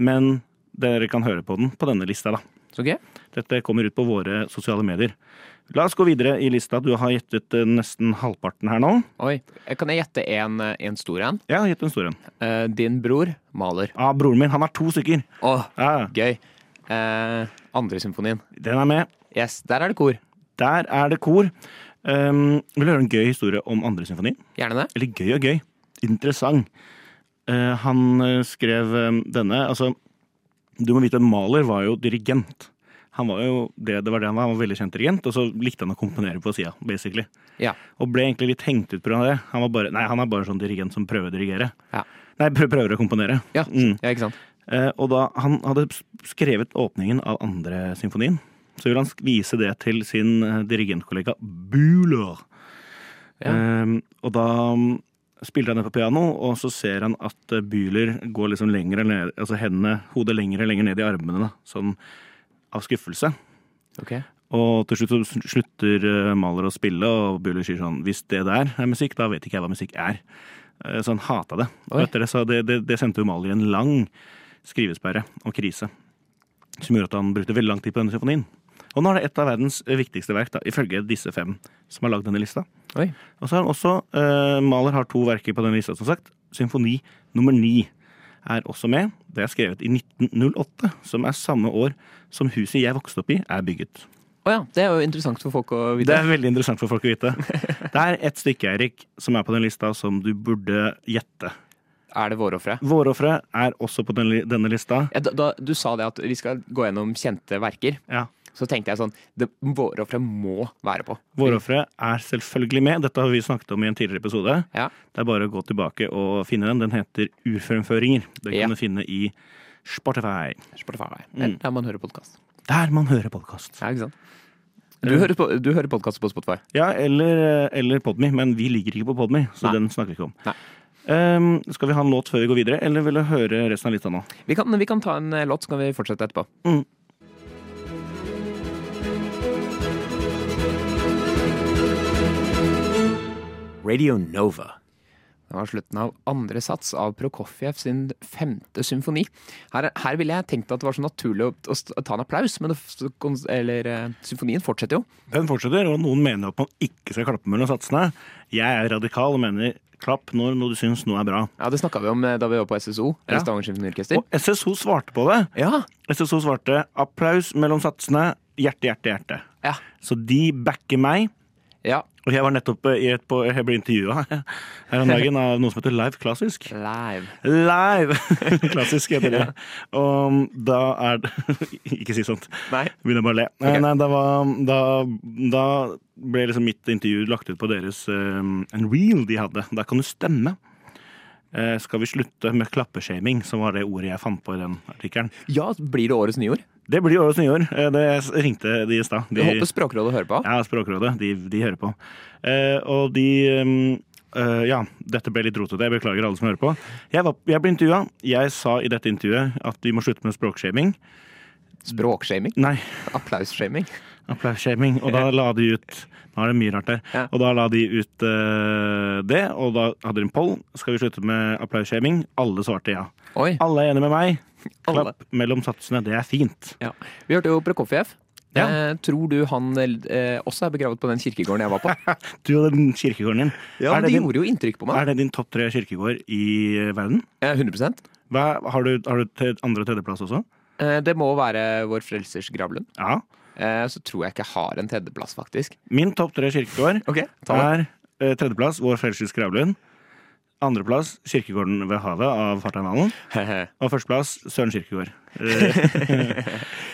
[SPEAKER 2] men dere kan høre på den på denne lista, da.
[SPEAKER 1] Så gøy.
[SPEAKER 2] Dette kommer ut på våre sosiale medier. La oss gå videre i lista. Du har gjettet eh, nesten halvparten her nå.
[SPEAKER 1] Oi. Eh, Kan jeg gjette en, eh, en stor en?
[SPEAKER 2] Ja, gjett en stor en.
[SPEAKER 1] Eh, din bror maler.
[SPEAKER 2] Ah, broren min, han har to stykker.
[SPEAKER 1] Å,
[SPEAKER 2] Ja,
[SPEAKER 1] gøy. Eh, andre symfonien.
[SPEAKER 2] den er med.
[SPEAKER 1] Yes, der er det kor.
[SPEAKER 2] Der er det kor. Um, vil du høre en gøy historie om andre symfoni?
[SPEAKER 1] Gjerne det.
[SPEAKER 2] Eller gøy og gøy. Interessant. Eh, han eh, skrev eh, denne. Altså, du må vite at Mahler var jo dirigent. Han var jo det, det var det han var. Han var veldig kjent dirigent, og så likte han å komponere på sida, basically.
[SPEAKER 1] Ja.
[SPEAKER 2] Og ble egentlig litt hengt ut pga. det. Han, var bare, nei, han er bare sånn dirigent som prøver å dirigere.
[SPEAKER 1] Ja.
[SPEAKER 2] Nei, prø- prøver å komponere.
[SPEAKER 1] Ja.
[SPEAKER 2] Mm.
[SPEAKER 1] ja, ikke sant.
[SPEAKER 2] Eh, og da han hadde skrevet åpningen av andre symfonien, så ville han sk- vise det til sin eh, dirigentkollega Bühler.
[SPEAKER 1] Ja.
[SPEAKER 2] Eh, og da mm, spilte han det på piano, og så ser han at eh, Bühler går liksom lengre ned, altså hendene, hodet lenger og lenger ned i armene, da, sånn av skuffelse.
[SPEAKER 1] Ok.
[SPEAKER 2] Og til slutt så sl- slutter eh, Mahler å spille, og Bühler sier sånn Hvis det der er musikk, da vet ikke jeg hva musikk er. Eh, Så han hata det. Og
[SPEAKER 1] Oi.
[SPEAKER 2] etter det, så det, det, det sendte jo Mahler i en lang skrivesperre og krise. Som gjorde at han brukte veldig lang tid på denne symfonien. Og nå er det et av verdens viktigste verk, da, ifølge disse fem som har lagd denne lista.
[SPEAKER 1] Oi.
[SPEAKER 2] Og så har han også eh, Mahler har to verker på denne lista, som sagt. Symfoni nummer ni er også med. Det er skrevet i 1908, som er samme år som huset jeg vokste opp i, er bygget.
[SPEAKER 1] Å ja, det er jo interessant for folk å
[SPEAKER 2] Det
[SPEAKER 1] vite.
[SPEAKER 2] er veldig interessant for folk å vite. Det er ett stykke Erik, som er på den lista som du burde gjette.
[SPEAKER 1] Er det vårofre?
[SPEAKER 2] Vårofre er også på den, li- denne lista.
[SPEAKER 1] Ja, da, da, du sa det at vi skal gå gjennom kjente verker.
[SPEAKER 2] Ja.
[SPEAKER 1] Så tenkte jeg sånn det, Vårofre må være på.
[SPEAKER 2] Vårofre er selvfølgelig med. Dette har vi snakket om i en tidligere episode.
[SPEAKER 1] Ja.
[SPEAKER 2] Det er bare å gå tilbake og finne den. Den heter Urfremføringer. Den
[SPEAKER 1] Ja.
[SPEAKER 2] kan du finne i Spotify.
[SPEAKER 1] Spotify. Eller der Mm. man hører podkast.
[SPEAKER 2] Der man hører podkast.
[SPEAKER 1] Ja, ikke sant? Du
[SPEAKER 2] Eh.
[SPEAKER 1] hører, på- du hører podkast på Spotify.
[SPEAKER 2] Ja, eller, eller Podme, men vi ligger ikke på Podme, så
[SPEAKER 1] Nei.
[SPEAKER 2] den snakker vi ikke om.
[SPEAKER 1] Nei.
[SPEAKER 2] Ehm, skal vi ha en låt før vi går videre, eller vil du høre resten av lista nå?
[SPEAKER 1] Vi kan, vi kan ta en eh, låt, så kan vi fortsette etterpå.
[SPEAKER 2] Mm.
[SPEAKER 3] Radio Nova.
[SPEAKER 1] Det var slutten av andre sats av Prokofjev sin femte symfoni. Her, her ville jeg tenkt at det var så naturlig å, å st- ta en applaus, men det, f- kons- eller, eh, symfonien fortsetter jo.
[SPEAKER 2] Den fortsetter, og noen mener at man ikke skal klappe mellom satsene. Jeg er radikal og mener Klapp når noe du syns noe er bra.
[SPEAKER 1] Ja, Det snakka vi om eh, da vi var på SSO.
[SPEAKER 2] Ja.
[SPEAKER 1] eller Stavanger Symfoniorkester.
[SPEAKER 2] Og SSO svarte på det.
[SPEAKER 1] Ja.
[SPEAKER 2] SSO svarte applaus mellom satsene, hjerte, hjerte, hjerte.
[SPEAKER 1] Ja.
[SPEAKER 2] Så de backer meg.
[SPEAKER 1] ja.
[SPEAKER 2] Og jeg var nettopp eh, i et på, jeg ble intervjua her om dagen av noe som heter Live Klassisk.
[SPEAKER 1] Live.
[SPEAKER 2] Live! Klassisk heter det. Og da er det Ikke si sånt.
[SPEAKER 1] Nei.
[SPEAKER 2] Begynner bare å le.
[SPEAKER 1] Ok.
[SPEAKER 2] Nei, da, var, da, da ble liksom mitt intervju lagt ut på deres eh, en reel de hadde. Der kan du stemme. Eh, skal vi slutte med klappeshaming, som var det ordet jeg fant på i den artikkelen.
[SPEAKER 1] Ja, blir det årets nyord?
[SPEAKER 2] Det blir årets nyår. Eh, det ringte de i stad.
[SPEAKER 1] Vi
[SPEAKER 2] De-
[SPEAKER 1] håper Språkrådet hører på.
[SPEAKER 2] ja, Språkrådet. De, de hører på. Eh, og de ehm, eh, Ja, dette ble litt rotete. Jeg beklager alle som hører på. Jeg, var, jeg ble intervjua. Jeg sa i dette intervjuet at vi må slutte med språkshaming.
[SPEAKER 1] Språkshaming?
[SPEAKER 2] Nei,
[SPEAKER 1] Applausshaming?
[SPEAKER 2] applausshaming. Og da la de ut Nå er det mye rart der.
[SPEAKER 1] Ja.
[SPEAKER 2] Og da la de ut eh, det, og da hadde de en poll. Skal vi slutte med applausshaming? Alle svarte ja.
[SPEAKER 1] Oi.
[SPEAKER 2] Alle er enige med meg.
[SPEAKER 1] Alle.
[SPEAKER 2] Klapp mellom satsene. Det er fint.
[SPEAKER 1] Ja. Vi hørte jo Prokofjev.
[SPEAKER 2] Ja.
[SPEAKER 1] Eh, tror du han eh, også er begravet på den kirkegården jeg var på?
[SPEAKER 2] Du og den kirkegården din.
[SPEAKER 1] Ja,
[SPEAKER 2] er,
[SPEAKER 1] Det
[SPEAKER 2] det din
[SPEAKER 1] gjorde jo inntrykk på meg.
[SPEAKER 2] er det din topp tre kirkegård i eh, verden?
[SPEAKER 1] Eh, 100
[SPEAKER 2] Hva, har du, har du te- andre- og tredjeplass også?
[SPEAKER 1] eh, Det må være Vår Frelsers gravlund.
[SPEAKER 2] Ja.
[SPEAKER 1] Eh, så tror jeg ikke jeg har en tredjeplass, faktisk.
[SPEAKER 2] Min topp tre kirkegård
[SPEAKER 1] Ok, ta det.
[SPEAKER 2] er eh, tredjeplass Vår Frelsers Gravlund. Andreplass Kirkegården ved havet av Fartein Valen. Og førsteplass Søren Kirkegård. Eh,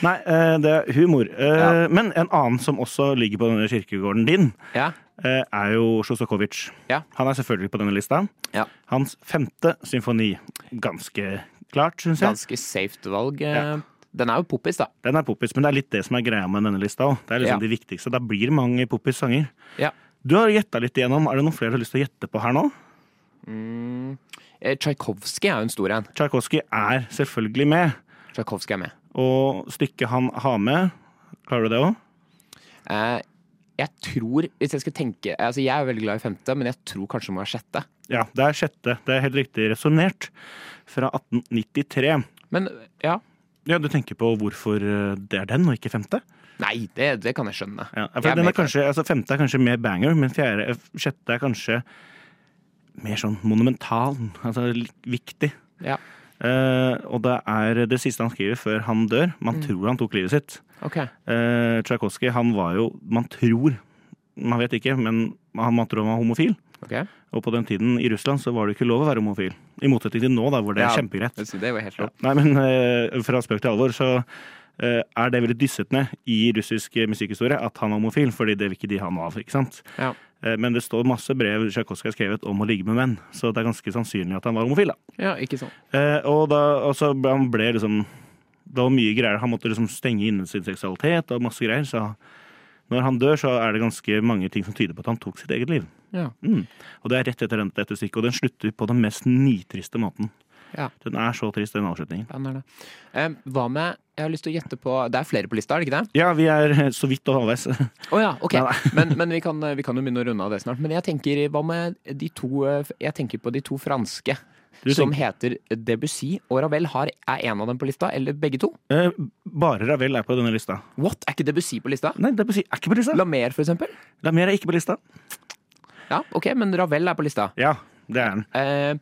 [SPEAKER 2] Nei, eh, det er humor. Eh, Men en annen som også ligger på denne kirkegården din,
[SPEAKER 1] ja.
[SPEAKER 2] eh, er jo Sjostakovitsj.
[SPEAKER 1] Ja.
[SPEAKER 2] Han er selvfølgelig på denne lista.
[SPEAKER 1] Ja.
[SPEAKER 2] Hans femte symfoni. Ganske klart, syns jeg.
[SPEAKER 1] Ganske safe valg. eh.
[SPEAKER 2] Ja.
[SPEAKER 1] Den er jo poppis, da.
[SPEAKER 2] Den er poppis, men det er litt det som er greia med denne lista òg. Det er liksom
[SPEAKER 1] Ja.
[SPEAKER 2] de viktigste. Da blir det mange poppis-sanger.
[SPEAKER 1] Ja.
[SPEAKER 2] Du har gjetta litt igjennom. Er det noen flere du har lyst til å gjette på her nå?
[SPEAKER 1] Eh, Tsjajkovskij er jo en stor en.
[SPEAKER 2] Tsjajkovskij er selvfølgelig med.
[SPEAKER 1] Tsjajkovskij er med.
[SPEAKER 2] Og stykket han har med Klarer du det òg?
[SPEAKER 1] Eh, jeg tror, hvis jeg skal tenke altså Jeg er veldig glad i femte, men jeg tror kanskje det må være sjette.
[SPEAKER 2] Ja, det er sjette. Det er helt riktig resonnert. Fra 1893.
[SPEAKER 1] Men ja.
[SPEAKER 2] Ja, Du tenker på hvorfor eh, det er den, og ikke femte?
[SPEAKER 1] Nei, det, det kan jeg skjønne.
[SPEAKER 2] Ja,
[SPEAKER 1] Jeg
[SPEAKER 2] for
[SPEAKER 1] er
[SPEAKER 2] den
[SPEAKER 1] med
[SPEAKER 2] er kanskje, altså Femte er kanskje mer banger, men fjerde, eh, sjette er kanskje mer sånn monumental. Altså li- viktig.
[SPEAKER 1] Ja.
[SPEAKER 2] Eh, og det er det siste han skriver før han dør.
[SPEAKER 1] Mm.
[SPEAKER 2] Man tror han tok livet sitt.
[SPEAKER 1] Ok.
[SPEAKER 2] Eh, Tsjajkovskij, han var jo Man tror, man vet ikke, men han man tror han var homofil.
[SPEAKER 1] ok.
[SPEAKER 2] Og på den tiden i Russland så var det ikke lov å være homofil. I motsetning til nå, da, hvor det er
[SPEAKER 1] Ja.
[SPEAKER 2] kjempegreit.
[SPEAKER 1] Så det var helt
[SPEAKER 2] Ja.
[SPEAKER 1] lov.
[SPEAKER 2] Nei, men eh, fra spøk til alvor, så eh, er det veldig dysset ned i russisk eh, musikkhistorie at han var homofil, fordi det vil ikke de ha noe av, ikke sant?
[SPEAKER 1] Ja.
[SPEAKER 2] Eh, men det står masse brev Tsjajkovskij har skrevet om å ligge med menn, så det er ganske sannsynlig at han var homofil, da.
[SPEAKER 1] ja, ikke sånn.
[SPEAKER 2] Eh, og da og så ble han ble liksom Det var mye greier. Han måtte liksom stenge inne sin seksualitet og masse greier. Så når han dør, så er det ganske mange ting som tyder på at han tok sitt eget liv.
[SPEAKER 1] Ja.
[SPEAKER 2] Mm. Og det er rett etter den- dette stykket, og den slutter på den mest nitriste måten.
[SPEAKER 1] Ja.
[SPEAKER 2] Den er så trist, den avslutningen.
[SPEAKER 1] Den er det. Eh, hva med Jeg har lyst til å gjette på Det er flere på lista, er det ikke det?
[SPEAKER 2] Ja, vi er eh, så vidt og halvveis.
[SPEAKER 1] Å ja, ok.
[SPEAKER 2] Nei,
[SPEAKER 1] men men vi, kan, vi kan jo begynne å runde av det snart. Men jeg tenker hva med de to eh, f- Jeg tenker på de to franske.
[SPEAKER 2] Du
[SPEAKER 1] Som heter Debussy og Ravel. Har, er en av dem på lista, eller begge to?
[SPEAKER 2] Eh, bare Ravel er på denne lista.
[SPEAKER 1] What? Er ikke Debussy på lista?
[SPEAKER 2] Nei, det er, på, si- er ikke på lista!
[SPEAKER 1] Lamer, for eksempel?
[SPEAKER 2] Lamer er ikke på lista.
[SPEAKER 1] Ja, ok, men Ravel er på lista.
[SPEAKER 2] Ja, det er den.
[SPEAKER 1] Eh,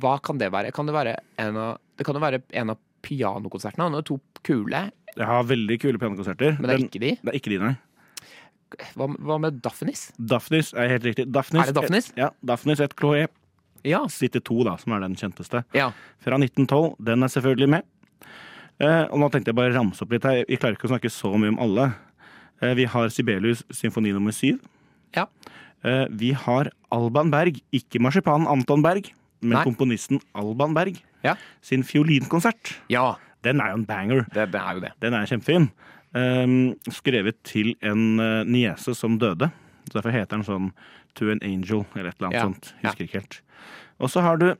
[SPEAKER 1] hva kan det være? Kan det være en av, det kan jo være en av pianokonsertene. Han har jo to kule,
[SPEAKER 2] Jeg har veldig kule pianokonserter.
[SPEAKER 1] men det er
[SPEAKER 2] Den-
[SPEAKER 1] ikke de.
[SPEAKER 2] det er ikke de, nei.
[SPEAKER 1] Hva, hva med Daphnis?
[SPEAKER 2] Daphnis er helt riktig. Daphnis,
[SPEAKER 1] Er det Daphnis?
[SPEAKER 2] Ja, Daphnis et Chloé.
[SPEAKER 1] Ja.
[SPEAKER 2] City 2, da, som er den kjenteste.
[SPEAKER 1] ja.
[SPEAKER 2] Fra 1912. Den er selvfølgelig med. Eh, og nå tenkte jeg bare ramse opp litt her. Vi klarer ikke å snakke så mye om alle. Eh, vi har Sibelius symfoni nummer syv.
[SPEAKER 1] Ja.
[SPEAKER 2] Eh, vi har Alban Berg, ikke marsipanen Anton Berg, men
[SPEAKER 1] Nei.
[SPEAKER 2] komponisten Alban Berg
[SPEAKER 1] Ja.
[SPEAKER 2] sin fiolinkonsert.
[SPEAKER 1] ja.
[SPEAKER 2] Den er jo en banger.
[SPEAKER 1] Det, det er jo det.
[SPEAKER 2] Den er kjempefin. Ehm, skrevet til en eh, niese som døde. Så Derfor heter den sånn To an Angel eller et eller annet
[SPEAKER 1] Ja,
[SPEAKER 2] sånt. Husker ikke helt. Og så har du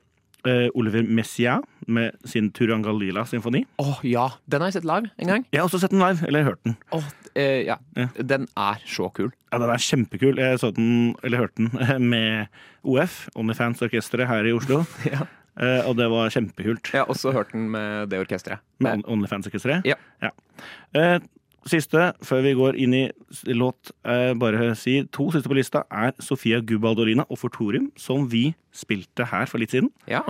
[SPEAKER 2] eh, Oliver Messia med sin Turangalila-symfoni.
[SPEAKER 1] Å ja. Den har jeg sett live en gang.
[SPEAKER 2] Jeg har også sett den live, eller hørt den.
[SPEAKER 1] Åh, eh, ja.
[SPEAKER 2] Ja.
[SPEAKER 1] Den er så kul.
[SPEAKER 2] Ja, Den er kjempekul. Jeg så den, eller hørte den, med OF, Onlyfans-orkesteret her i Oslo.
[SPEAKER 1] Ja.
[SPEAKER 2] Eh, og det var kjempekult.
[SPEAKER 1] Jeg har også hørt den med det orkesteret.
[SPEAKER 2] Med On- Onlyfans-orkesteret?
[SPEAKER 1] Ja.
[SPEAKER 2] Eh, siste, før vi går inn i s- låt, eh, bare si to siste på lista, er Sofia Gubaldorina og Fortorium, som vi spilte her for litt siden.
[SPEAKER 1] Ja,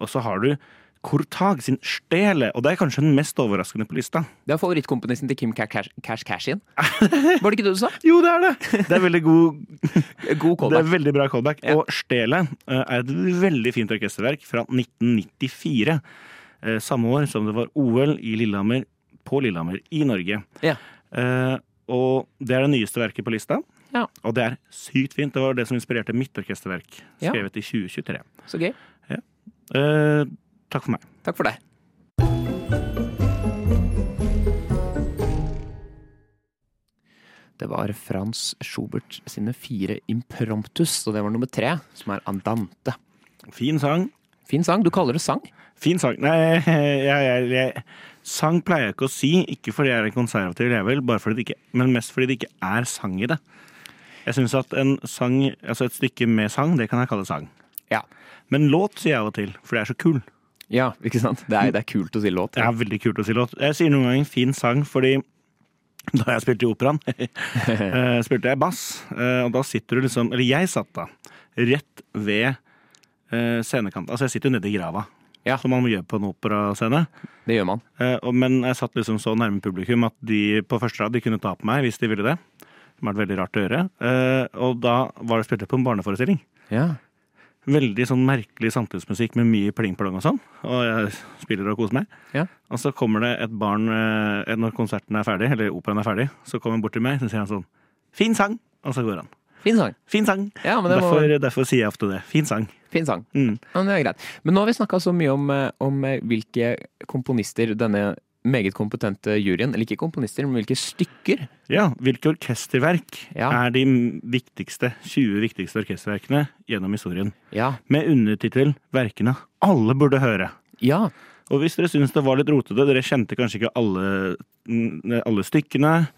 [SPEAKER 2] Og så har du Kortag sin Stele, og det er kanskje den mest overraskende på lista.
[SPEAKER 1] Det er favorittkomponisten til Kim Ka- Cash Cash Cashin. Var det ikke det du sa?
[SPEAKER 2] Jo, det er det! Det er veldig god
[SPEAKER 1] God
[SPEAKER 2] Det er
[SPEAKER 1] callback.
[SPEAKER 2] veldig bra callback.
[SPEAKER 1] Ja.
[SPEAKER 2] Og Stele eh, er et veldig fint orkesterverk fra 1994. eh, Samme år som det var OL i Lillehammer, på Lillehammer i Norge.
[SPEAKER 1] Ja.
[SPEAKER 2] Eh, Og det er det nyeste verket på lista.
[SPEAKER 1] Ja.
[SPEAKER 2] Og det er sykt fint. Det var det som inspirerte mitt orkesterverk,
[SPEAKER 1] Ja.
[SPEAKER 2] skrevet i 2023.
[SPEAKER 1] Så gøy.
[SPEAKER 2] Eh, Takk for meg.
[SPEAKER 1] Takk for deg. Det var Frans Schubert sine fire impromptus, og det var nummer tre, som er Andante.
[SPEAKER 2] Fin sang.
[SPEAKER 1] Fin sang. Du kaller det sang?
[SPEAKER 2] Fin sang. Nei, jeg, jeg, jeg Sang pleier jeg ikke å si, ikke fordi jeg er en konservativ level, bare fordi det ikke, men mest fordi det ikke er sang i det. Jeg syns at en sang, altså et stykke med sang, det kan jeg kalle sang.
[SPEAKER 1] Ja.
[SPEAKER 2] Men låt sier jeg av og til, for det er så kul.
[SPEAKER 1] Ja, ikke sant? Det er, det er kult å si låt.
[SPEAKER 2] Det er veldig kult å si låt. Jeg sier noen ganger fin sang fordi da jeg spilte i operaen, eh, spilte jeg bass, eh, og da sitter du liksom Eller jeg satt da rett ved eh, scenekanten. Altså, jeg sitter jo nede i grava,
[SPEAKER 1] Ja.
[SPEAKER 2] som man gjør på en operascene.
[SPEAKER 1] Det gjør man.
[SPEAKER 2] Eh, og- Men jeg satt liksom så nærme publikum at de på første rad de kunne ta på meg hvis de ville det. Som har vært veldig rart å gjøre. Eh, Og da var det spilt på en barneforestilling.
[SPEAKER 1] Ja.
[SPEAKER 2] Veldig sånn merkelig samtidsmusikk med mye pling-plong og sånn. Og jeg spiller og koser meg.
[SPEAKER 1] Ja.
[SPEAKER 2] Og så kommer det et barn eh, når konserten er ferdig, eller operaen er ferdig, så kommer han bort til meg så sier han sånn Fin sang! Og så går han.
[SPEAKER 1] Fin sang.
[SPEAKER 2] Fin sang!
[SPEAKER 1] Ja, men det må...
[SPEAKER 2] Derfor, derfor sier jeg ofte det. Fin sang.
[SPEAKER 1] Fin sang.
[SPEAKER 2] Mm.
[SPEAKER 1] Ja, men det er greit. Men nå har vi snakka så mye om, eh, om eh, hvilke komponister denne meget kompetente juryen, eller ikke komponister, men hvilke stykker
[SPEAKER 2] Ja, hvilke orkesterverk
[SPEAKER 1] Ja.
[SPEAKER 2] er de viktigste, 20 viktigste orkesterverkene gjennom historien?
[SPEAKER 1] Ja.
[SPEAKER 2] med undertittel 'Verkene alle burde høre'.
[SPEAKER 1] Ja.
[SPEAKER 2] Og hvis dere syns det var litt rotete, dere kjente kanskje ikke alle, n- alle stykkene,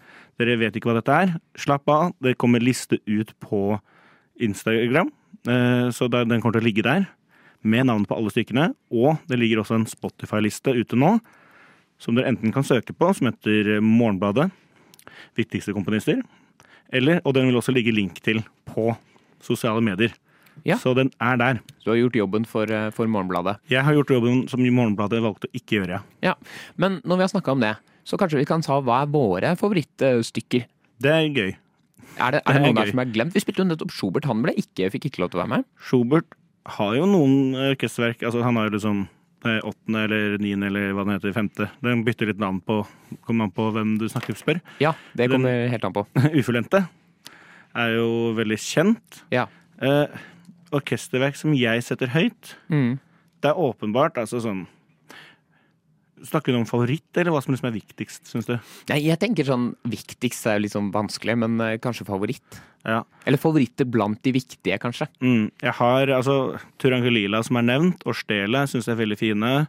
[SPEAKER 2] dere vet ikke hva dette er, slapp av. Det kommer liste ut på Instagram, eh, så da- den kommer til å ligge der. Med navn på alle stykkene. Og det ligger også en Spotify-liste ute nå, som dere enten kan søke på, som heter Morgenbladet. Viktigste komponister. Eller, og den vil også ligge link til på sosiale medier.
[SPEAKER 1] Ja.
[SPEAKER 2] Så den er der.
[SPEAKER 1] Du har gjort jobben for, eh, for Morgenbladet.
[SPEAKER 2] Jeg har gjort jobben som Morgenbladet valgte å ikke gjøre.
[SPEAKER 1] Ja. Men når vi har snakka om det, så kanskje vi kan ta hva er våre favorittstykker?
[SPEAKER 2] Det er gøy.
[SPEAKER 1] Er det, er det
[SPEAKER 2] Det er
[SPEAKER 1] noen
[SPEAKER 2] gøy.
[SPEAKER 1] der som er glemt? Vi spilte jo nettopp Schubert. Han ble ikke, fikk ikke lov til å være med.
[SPEAKER 2] Schubert har jo noen orkesterverk. Altså, han har jo liksom eh, åttende eller niende eller hva den heter, femte. Den bytter litt navn på, kommer an på hvem du snakker spør.
[SPEAKER 1] Ja, det kommer helt an på.
[SPEAKER 2] Ufullendte er jo veldig kjent.
[SPEAKER 1] Ja.
[SPEAKER 2] Eh, orkesterverk som jeg setter høyt,
[SPEAKER 1] Mm.
[SPEAKER 2] det er åpenbart altså sånn Snakker du om favoritt, eller hva som liksom er viktigst, syns du?
[SPEAKER 1] Nei, jeg tenker sånn viktigst er jo litt sånn vanskelig, men eh, kanskje favoritt.
[SPEAKER 2] Ja.
[SPEAKER 1] Eller favoritter blant de viktige, kanskje.
[SPEAKER 2] Mm, jeg har altså Turangelila som er nevnt, og Stele syns jeg er veldig fine.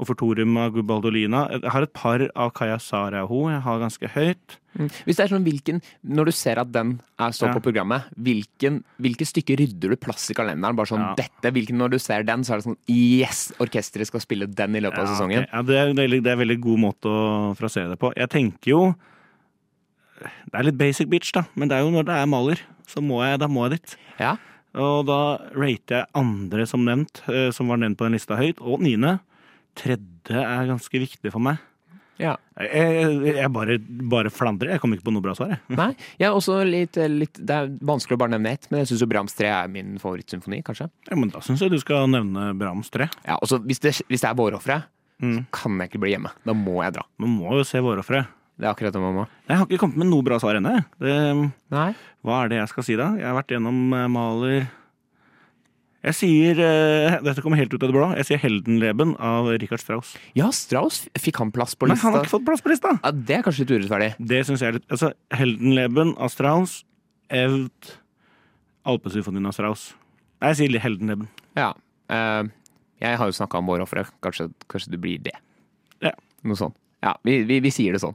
[SPEAKER 2] Og Fortorium av Gubaldolina. Jeg har et par av Kaya Saraho jeg har ganske høyt.
[SPEAKER 1] Hvis det er sånn hvilken, Når du ser at den er står
[SPEAKER 2] Mm. Ja.
[SPEAKER 1] på programmet, hvilken, hvilke stykker rydder du plass i kalenderen? Bare sånn
[SPEAKER 2] Ja.
[SPEAKER 1] dette, hvilken Når du ser den, så er det sånn Yes! Orkesteret skal spille den i løpet av sesongen.
[SPEAKER 2] Ja, det, er, en veldig- det er en veldig god måte å frasere det på. Jeg tenker jo Det er litt basic bitch, da, men det er jo når det er maler, så må jeg, da må jeg dit.
[SPEAKER 1] Ja.
[SPEAKER 2] Og da rater jeg andre som nevnt, eh, som var nevnt på den lista høyt, og niende. Tredje er ganske viktig for meg.
[SPEAKER 1] ja.
[SPEAKER 2] Jeg, jeg, jeg bare, bare flandrer. Jeg kom ikke på noe bra svar, jeg.
[SPEAKER 1] Nei, jeg er også litt, eh, litt Det er vanskelig å bare nevne ett, men jeg syns jo Brahms 3 er min favorittsymfoni, kanskje.
[SPEAKER 2] Ja, men Da syns jeg du skal nevne Brahms 3.
[SPEAKER 1] Ja, også, hvis, det, hvis det er vårofre,
[SPEAKER 2] Mm.
[SPEAKER 1] så kan jeg ikke bli hjemme. Da må jeg dra.
[SPEAKER 2] Man må jo se vårofre.
[SPEAKER 1] Det er akkurat det man må.
[SPEAKER 2] Jeg har ikke kommet med noe bra svar ennå. jeg. Det-
[SPEAKER 1] Nei.
[SPEAKER 2] Hva er det jeg skal si, da? Jeg har vært gjennom eh, Maler Jeg sier eh, Dette kommer helt ut av det blå. Jeg sier 'Heldenleben' av Richard Strauss.
[SPEAKER 1] Ja, Strauss fikk han plass på
[SPEAKER 2] Men
[SPEAKER 1] lista.
[SPEAKER 2] han har ikke fått plass på lista!
[SPEAKER 1] ja, det er kanskje litt urettferdig.
[SPEAKER 2] Det syns jeg er litt Altså, 'Heldenleben' av Strauss, Evd Alpesymfonien av Strauss. Nei, jeg sier 'Heldenleben'.
[SPEAKER 1] Ja. eh, jeg har jo snakka om vårofre. Kanskje, kanskje du blir det.
[SPEAKER 2] Ja.
[SPEAKER 1] Noe sånt. Ja, vi, vi, vi sier det sånn.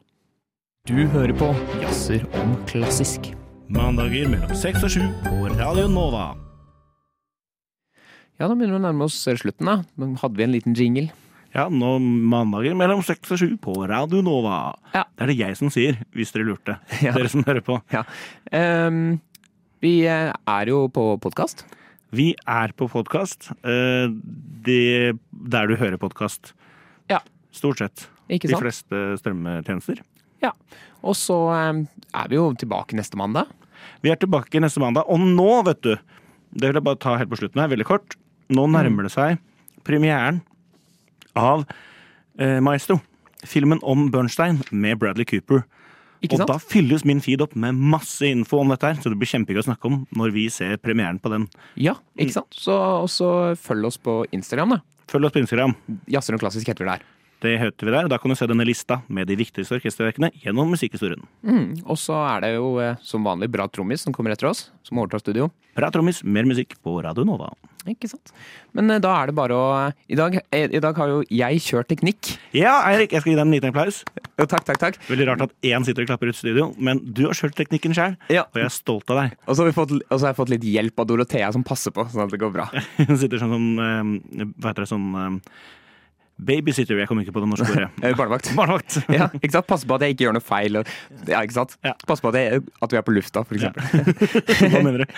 [SPEAKER 1] Du hører på Jazzer om klassisk.
[SPEAKER 2] Mandager mellom seks og sju på Radio Nova.
[SPEAKER 1] Ja, da begynner vi å nærme oss slutten, da. Men hadde vi en liten jingle?
[SPEAKER 2] Ja, nå mandager mellom seks og sju på Radio Nova.
[SPEAKER 1] Ja.
[SPEAKER 2] Det er det jeg som sier, hvis dere lurte.
[SPEAKER 1] Ja.
[SPEAKER 2] Dere som hører på.
[SPEAKER 1] Ja. Ehm, vi eh, er jo på podkast.
[SPEAKER 2] Vi er på podkast. Der du hører podkast.
[SPEAKER 1] Ja.
[SPEAKER 2] Stort sett.
[SPEAKER 1] Ikke
[SPEAKER 2] De
[SPEAKER 1] sant?
[SPEAKER 2] fleste strømmetjenester.
[SPEAKER 1] Ja. Og så ehm, er vi jo tilbake neste mandag.
[SPEAKER 2] Vi er tilbake neste mandag. Og nå, vet du Det vil jeg bare ta helt på slutten her, veldig kort. Nå nærmer det seg premieren av eh, Maestro. Filmen om Bernstein med Bradley Cooper.
[SPEAKER 1] Ikke
[SPEAKER 2] og
[SPEAKER 1] sant?
[SPEAKER 2] da fylles min feed opp med masse info om dette her, så det blir kjempegøy å snakke om når vi ser premieren på den.
[SPEAKER 1] Ja, ikke sant? Så, og så følg oss på Instagram, da.
[SPEAKER 2] Følg oss på Instagram.
[SPEAKER 1] Jazzer og klassisk heter vi der.
[SPEAKER 2] Det heter vi der, og da kan du se denne lista med de viktigste orkesterverkene gjennom musikkhistorien.
[SPEAKER 1] Og så er det jo eh, som vanlig bra trommis som kommer etter oss, som overtar studio.
[SPEAKER 2] Bra trommis, mer musikk på Radio Nova.
[SPEAKER 1] Ikke sant? Men eh, da er det bare å I dag, eh, i dag har jo jeg kjørt teknikk.
[SPEAKER 2] Ja, Eirik, jeg skal gi deg en liten applaus.
[SPEAKER 1] Jo, takk, takk, takk.
[SPEAKER 2] Veldig rart at én sitter og klapper ut studio, men du har kjørt teknikken sjøl,
[SPEAKER 1] Ja.
[SPEAKER 2] og jeg er stolt av deg.
[SPEAKER 1] Og så har, vi fått, og så har jeg fått litt hjelp av Dorothea, som passer på, sånn at det går bra.
[SPEAKER 2] Hun sitter sånn som eh, Hva heter det sånn eh, Babysitter, jeg kom ikke på det norske ordet.
[SPEAKER 1] Eh, Barnevakt.
[SPEAKER 2] Barnevakt.
[SPEAKER 1] Ja, ikke sant? Passe på at jeg ikke gjør noe feil. og- Ja, ikke sant?
[SPEAKER 2] Ja.
[SPEAKER 1] Passe på at, jeg, at vi er på lufta, for eksempel.
[SPEAKER 2] Hva mener du?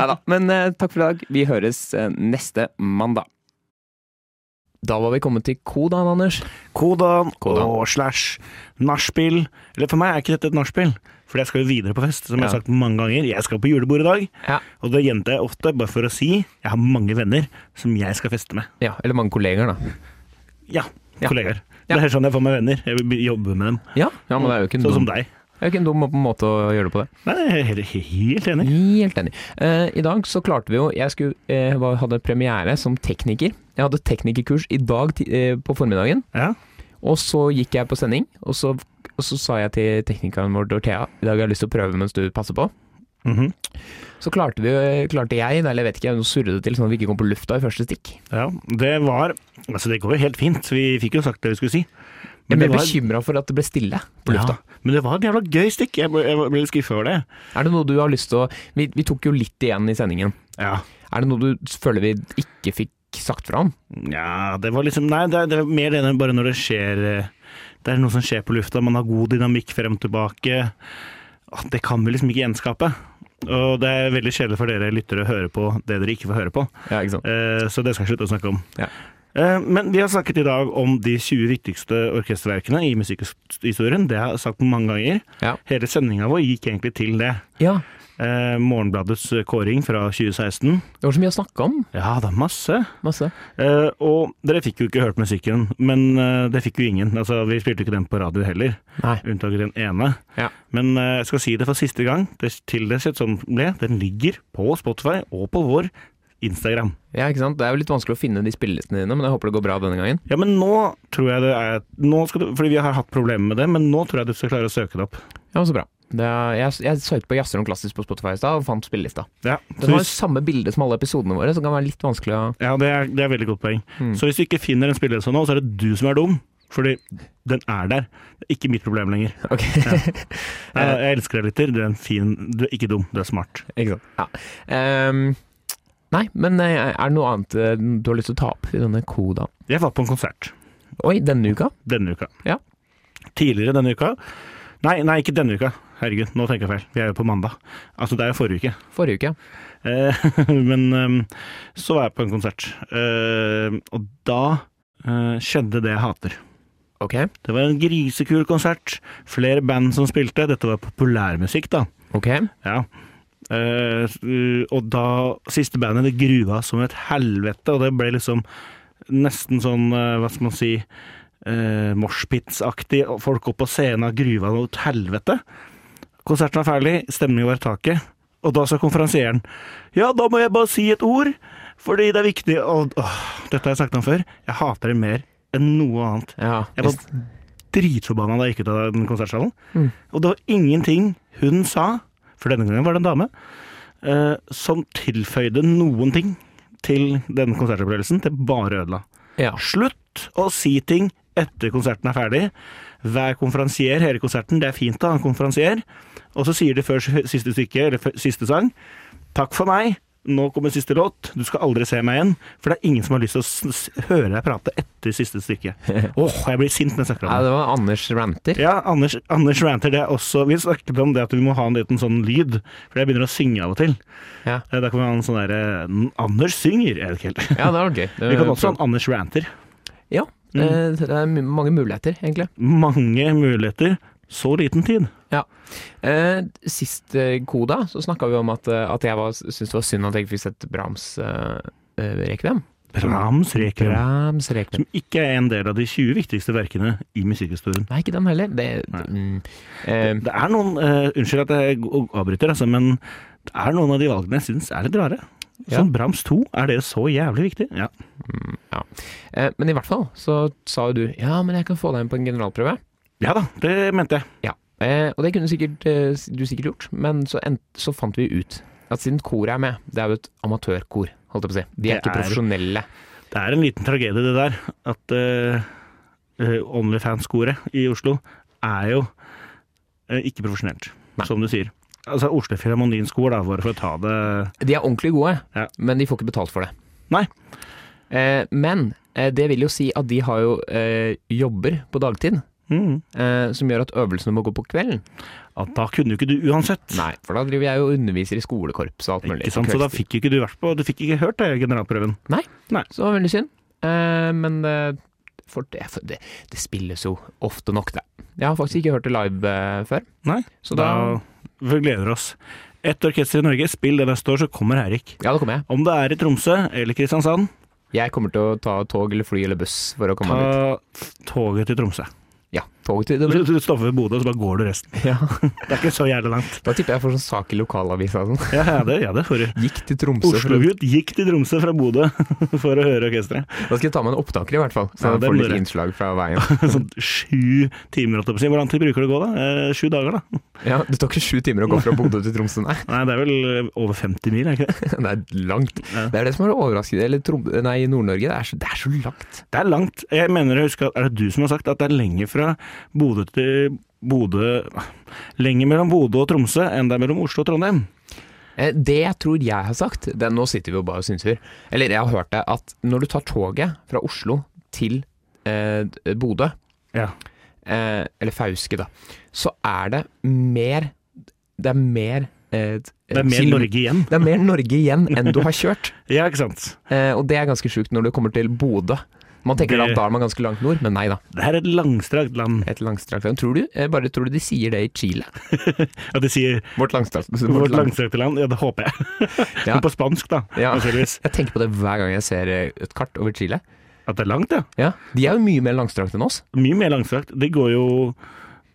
[SPEAKER 1] Neida. Men eh, takk for i dag. Vi høres eh, neste mandag. Da var vi kommet til kodaen, Anders.
[SPEAKER 2] Kodan,
[SPEAKER 1] Kodan.
[SPEAKER 2] og slash nachspiel. Eller for meg er ikke dette et nachspiel, for jeg skal jo videre på fest, som jeg
[SPEAKER 1] Ja.
[SPEAKER 2] har sagt mange ganger. Jeg skal på julebord i dag,
[SPEAKER 1] Ja.
[SPEAKER 2] og det gjentar jeg ofte bare for å si jeg har mange venner som jeg skal feste med.
[SPEAKER 1] Ja, Eller mange kolleger, da.
[SPEAKER 2] Ja,
[SPEAKER 1] Ja.
[SPEAKER 2] kollegaer.
[SPEAKER 1] Ja.
[SPEAKER 2] Det er sånn jeg får meg venner. Jeg vil jobbe med dem.
[SPEAKER 1] Ja, men det er jo ikke en
[SPEAKER 2] Sånn
[SPEAKER 1] dum,
[SPEAKER 2] som
[SPEAKER 1] det
[SPEAKER 2] deg.
[SPEAKER 1] er jo ikke en dum måte å gjøre det på. det
[SPEAKER 2] Nei, jeg er helt, helt enig.
[SPEAKER 1] Helt enig. Eh, I dag så klarte vi jo Jeg skulle, eh, var- hadde premiere som tekniker. Jeg hadde teknikerkurs i dag ti- eh, på formiddagen.
[SPEAKER 2] Ja.
[SPEAKER 1] Og så gikk jeg på sending, og så, og så sa jeg til teknikeren vår, Dorthea, i dag har jeg lyst til å prøve mens du passer på.
[SPEAKER 2] Mhm.
[SPEAKER 1] Så klarte, vi, klarte jeg, eller jeg vet ikke, jeg surret det til sånn at vi ikke kom på lufta i første stikk.
[SPEAKER 2] ja. Det var Altså, det går jo helt fint. Vi fikk jo sagt det vi skulle si.
[SPEAKER 1] Jeg ble
[SPEAKER 2] det var-
[SPEAKER 1] bekymra for at det ble stille på lufta.
[SPEAKER 2] Ja, men det var et jævla gøy stikk. Jeg ble, jeg ble litt skuffa over det.
[SPEAKER 1] Er det noe du har lyst til å vi, vi tok jo litt igjen i sendingen.
[SPEAKER 2] Ja.
[SPEAKER 1] Er det noe du føler vi ikke fikk sagt fra om?
[SPEAKER 2] Nja, det var liksom Nei, det er, det er mer det enn bare når det skjer eh, Det er noe som skjer på lufta, man har god dynamikk frem og tilbake. Åh, Det kan vi liksom ikke gjenskape. Og det er veldig kjedelig for dere lyttere å høre på det dere ikke får høre på.
[SPEAKER 1] Ja, ikke sant?
[SPEAKER 2] Eh, Så det skal jeg slutte å snakke om.
[SPEAKER 1] Ja.
[SPEAKER 2] Eh, Men vi har snakket i dag om de 20 viktigste orkesterverkene i musikkhistorien. Det har jeg sagt mange ganger.
[SPEAKER 1] Ja.
[SPEAKER 2] Hele sendinga vår gikk egentlig til det.
[SPEAKER 1] ja.
[SPEAKER 2] Eh, Morgenbladets kåring fra 2016.
[SPEAKER 1] Det var så mye å snakke om.
[SPEAKER 2] Ja, det er masse.
[SPEAKER 1] Masse.
[SPEAKER 2] Eh, og dere fikk jo ikke hørt musikken, men eh, det fikk jo ingen. Altså, vi spilte jo ikke den på radio heller,
[SPEAKER 1] Nei.
[SPEAKER 2] unntaket den ene.
[SPEAKER 1] Ja.
[SPEAKER 2] Men eh, jeg skal si det for siste gang, det, til det sett sånn ble, den ligger på Spotify og på vår Instagram.
[SPEAKER 1] ja, ikke sant. Det er jo litt vanskelig å finne de spillelistene dine, men jeg håper det går bra denne gangen.
[SPEAKER 2] Ja, men nå tror jeg det er nå skal du, Fordi vi har hatt problemer med det, men nå tror jeg du skal klare å søke det opp.
[SPEAKER 1] Ja, men så bra. Det er, jeg, jeg søkte på jazzer om klassisk på Spotify i stad, og fant spillelista.
[SPEAKER 2] Ja, så
[SPEAKER 1] Den har
[SPEAKER 2] hvis,
[SPEAKER 1] samme bilde som alle episodene våre, så det kan være litt vanskelig å
[SPEAKER 2] ja det, er, det er veldig godt poeng. Så hvis du ikke finner en spilleliste nå, så er det du som er dum. Fordi den er der. Det er ikke mitt problem lenger.
[SPEAKER 1] Ok.
[SPEAKER 2] Jeg, jeg elsker deg, lytter. Du er en fin Du er ikke dum, du er smart.
[SPEAKER 1] Ikke sant. Ja. Ehm, nei, men eh, er det noe annet eh, du har lyst til å ta opp i denne kodaen?
[SPEAKER 2] Jeg var på en konsert.
[SPEAKER 1] Oi, denne uka?
[SPEAKER 2] Denne uka.
[SPEAKER 1] Ja.
[SPEAKER 2] Tidligere denne uka. Nei, nei, ikke denne uka. Herregud, nå tenker jeg feil. Vi er jo på mandag. Altså, det er jo forrige uke.
[SPEAKER 1] Forrige uke.
[SPEAKER 2] Eh, men ehm, så var jeg på en konsert, eh, og da eh, skjedde det jeg hater.
[SPEAKER 1] Ok.
[SPEAKER 2] Det var en grisekul konsert. Flere band som spilte. Dette var populærmusikk, da.
[SPEAKER 1] Ok.
[SPEAKER 2] Ja. Eh, og da Siste bandet det grua som et helvete, og det ble liksom nesten sånn eh, Hva skal man si uh, Moshpits-aktig. og Folk opp på scenen og gruva noe et helvete. Konserten er ferdig, stemningen var i taket, og da sa konferansieren Ja, da må jeg bare si et ord, fordi det er viktig og, åh, Dette har jeg sagt om før. Jeg hater det mer enn noe annet.
[SPEAKER 1] Ja.
[SPEAKER 2] Jeg var
[SPEAKER 1] visst.
[SPEAKER 2] dritforbanna da jeg gikk ut av den konsertsalen.
[SPEAKER 1] Mm.
[SPEAKER 2] Og det var ingenting hun sa, for denne gangen var det en dame, eh, som tilføyde noen ting til denne konsertopplevelsen. Det bare ødela.
[SPEAKER 1] ja.
[SPEAKER 2] Slutt å si ting etter konserten er ferdig. Vær konferansier hele konserten. Det er fint å ha en konferansier. Og så sier de før siste stykke, eller før siste sang, takk for meg, Nå kommer siste låt. Du skal aldri se meg igjen. For det er ingen som har lyst til å s s høre deg prate etter siste stykke. Åh, jeg blir sint når jeg snakker om
[SPEAKER 1] Nei,
[SPEAKER 2] det.
[SPEAKER 1] det var Anders ranter.
[SPEAKER 2] Ja, Anders, Anders ranter det er også Vi snakket om det at vi må ha en liten sånn lyd, for jeg begynner å synge av og til.
[SPEAKER 1] Ja.
[SPEAKER 2] Eh, Da kan vi ha en sånn derre Anders synger, er det ikke helt.
[SPEAKER 1] Ja, det var gøy. Det-
[SPEAKER 2] Vi kan også Mm. ha en Anders ranter.
[SPEAKER 1] Ja. Det, det er mu- mange muligheter, egentlig.
[SPEAKER 2] Mange muligheter, så liten tid.
[SPEAKER 1] Ja. Eh, sist eh, koda så snakka vi om at, eh, at jeg var- syntes det var synd at jeg ikke fikk sett Brahms eh, eh, Rekviem.
[SPEAKER 2] Brahms Requiem.
[SPEAKER 1] Brahms Rekviem.
[SPEAKER 2] Som ikke er en del av de 20 viktigste verkene i musikkhistorien.
[SPEAKER 1] Nei, ikke den heller. Det,
[SPEAKER 2] Nei.
[SPEAKER 1] mm, eh,
[SPEAKER 2] Det er noen eh, Unnskyld at jeg g- avbryter, altså, men det er noen av de valgene jeg syns er litt rare.
[SPEAKER 1] Ja.
[SPEAKER 2] Som Brahms 2, er det så jævlig viktig? Ja.
[SPEAKER 1] ja. eh, men i hvert fall så sa jo du ja, men jeg kan få deg inn på en generalprøve.
[SPEAKER 2] ja da, det mente jeg.
[SPEAKER 1] Ja, eh, og det kunne sikkert, eh, du sikkert gjort, men så, en, så fant vi ut at siden koret er med, det er jo et amatørkor, holdt jeg på å si. De er
[SPEAKER 2] Det
[SPEAKER 1] ikke
[SPEAKER 2] er-
[SPEAKER 1] profesjonelle.
[SPEAKER 2] Det er en liten tragedie det der, at eh, eh, Onlyfans-koret i Oslo er jo eh, ikke profesjonelt,
[SPEAKER 1] Nei.
[SPEAKER 2] som du sier. Altså Oslo Filharmoniens kor, da, bare for å ta det
[SPEAKER 1] De er ordentlig gode,
[SPEAKER 2] Ja.
[SPEAKER 1] men de får ikke betalt for det.
[SPEAKER 2] Nei.
[SPEAKER 1] Eh, men eh, det vil jo si at de har jo eh, jobber på dagtid,
[SPEAKER 2] mm.
[SPEAKER 1] eh, som gjør at øvelsene må gå på kvelden.
[SPEAKER 2] At da kunne jo ikke du uansett.
[SPEAKER 1] Nei, for da driver jeg jo og underviser i skolekorps og alt mulig.
[SPEAKER 2] Ikke sant? Så da fikk jo ikke du vært på, du fikk ikke hørt det, generalprøven.
[SPEAKER 1] Så det var veldig synd. Eh, men eh, for det, for det, det spilles jo ofte nok, det. Jeg har faktisk ikke hørt det live eh, før.
[SPEAKER 2] Nei,
[SPEAKER 1] Så
[SPEAKER 2] da,
[SPEAKER 1] da,
[SPEAKER 2] vi gleder oss. Et orkester i Norge, spill det neste år, så kommer Eirik.
[SPEAKER 1] Ja, da kommer jeg.
[SPEAKER 2] Om det er i Tromsø eller Kristiansand,
[SPEAKER 1] Jeg kommer til å ta tog eller fly eller buss for å komme meg dit.
[SPEAKER 2] ta toget til Tromsø.
[SPEAKER 1] Ja, tog til
[SPEAKER 2] Du, du stopper ved Bodø, og så bare går du resten.
[SPEAKER 1] ja.
[SPEAKER 2] Det er ikke så jævlig langt.
[SPEAKER 1] Da tipper jeg får sånn sak i lokalavisa og sånn.
[SPEAKER 2] Ja, ja, det, ja, det får du.
[SPEAKER 1] Gikk til Tromsø. for å-
[SPEAKER 2] Oslo-gutt gikk til Tromsø fra Bodø for å høre orkesteret.
[SPEAKER 1] Da skal jeg ta med en opptaker i hvert fall,
[SPEAKER 2] Ja,
[SPEAKER 1] så jeg
[SPEAKER 2] det
[SPEAKER 1] får
[SPEAKER 2] må
[SPEAKER 1] litt
[SPEAKER 2] dere.
[SPEAKER 1] innslag fra veien.
[SPEAKER 2] Sånn sju timer, holdt jeg på å si. Hvor lang tid bruker det å gå, da? Eh, sju dager, da?
[SPEAKER 1] Ja, Det tar ikke sju timer å gå fra Bodø til Tromsø, nei.
[SPEAKER 2] Nei, det er vel eh, over 50 mil, er det ikke det?
[SPEAKER 1] Det er langt.
[SPEAKER 2] Ja.
[SPEAKER 1] Det er det som er overraskende. Eller Trom nei, i Nord-Norge, det, er så- det er så langt.
[SPEAKER 2] Det er langt. Jeg mener jeg husker at Er det du som har sagt at det er lenger fra Bodø til Bodø Lenger mellom Bodø og Tromsø enn det er mellom Oslo og Trondheim?
[SPEAKER 1] Eh, Det jeg tror jeg har sagt, det nå sitter vi jo bare og synser, eller jeg har hørt det, at når du tar toget fra Oslo til eh, Bodø,
[SPEAKER 2] Ja.
[SPEAKER 1] eh, eller Fauske da, så er det mer Det er mer eh,
[SPEAKER 2] Det er mer
[SPEAKER 1] kilo-
[SPEAKER 2] Norge igjen.
[SPEAKER 1] Det er mer Norge igjen enn du har kjørt.
[SPEAKER 2] Ja, ikke sant.
[SPEAKER 1] Eh, og det er ganske sjukt når du kommer til Bodø. Man tenker
[SPEAKER 2] Det-
[SPEAKER 1] at da er man ganske langt nord, men nei da.
[SPEAKER 2] Det er et langstrakt land.
[SPEAKER 1] Et langstrakt land. Tror du, eh, bare tror du de sier det i Chile?
[SPEAKER 2] At de sier
[SPEAKER 1] Vårt langstrakt
[SPEAKER 2] vårt langstrakte land, ja det håper jeg.
[SPEAKER 1] Ja.
[SPEAKER 2] Men på spansk, da.
[SPEAKER 1] Ja.
[SPEAKER 2] Naturligvis.
[SPEAKER 1] Jeg tenker på det hver gang jeg ser eh, et kart over Chile.
[SPEAKER 2] At det er langt, ja.
[SPEAKER 1] Ja, De er jo mye mer langstrakte enn oss.
[SPEAKER 2] Mye mer langstrakt. Det går jo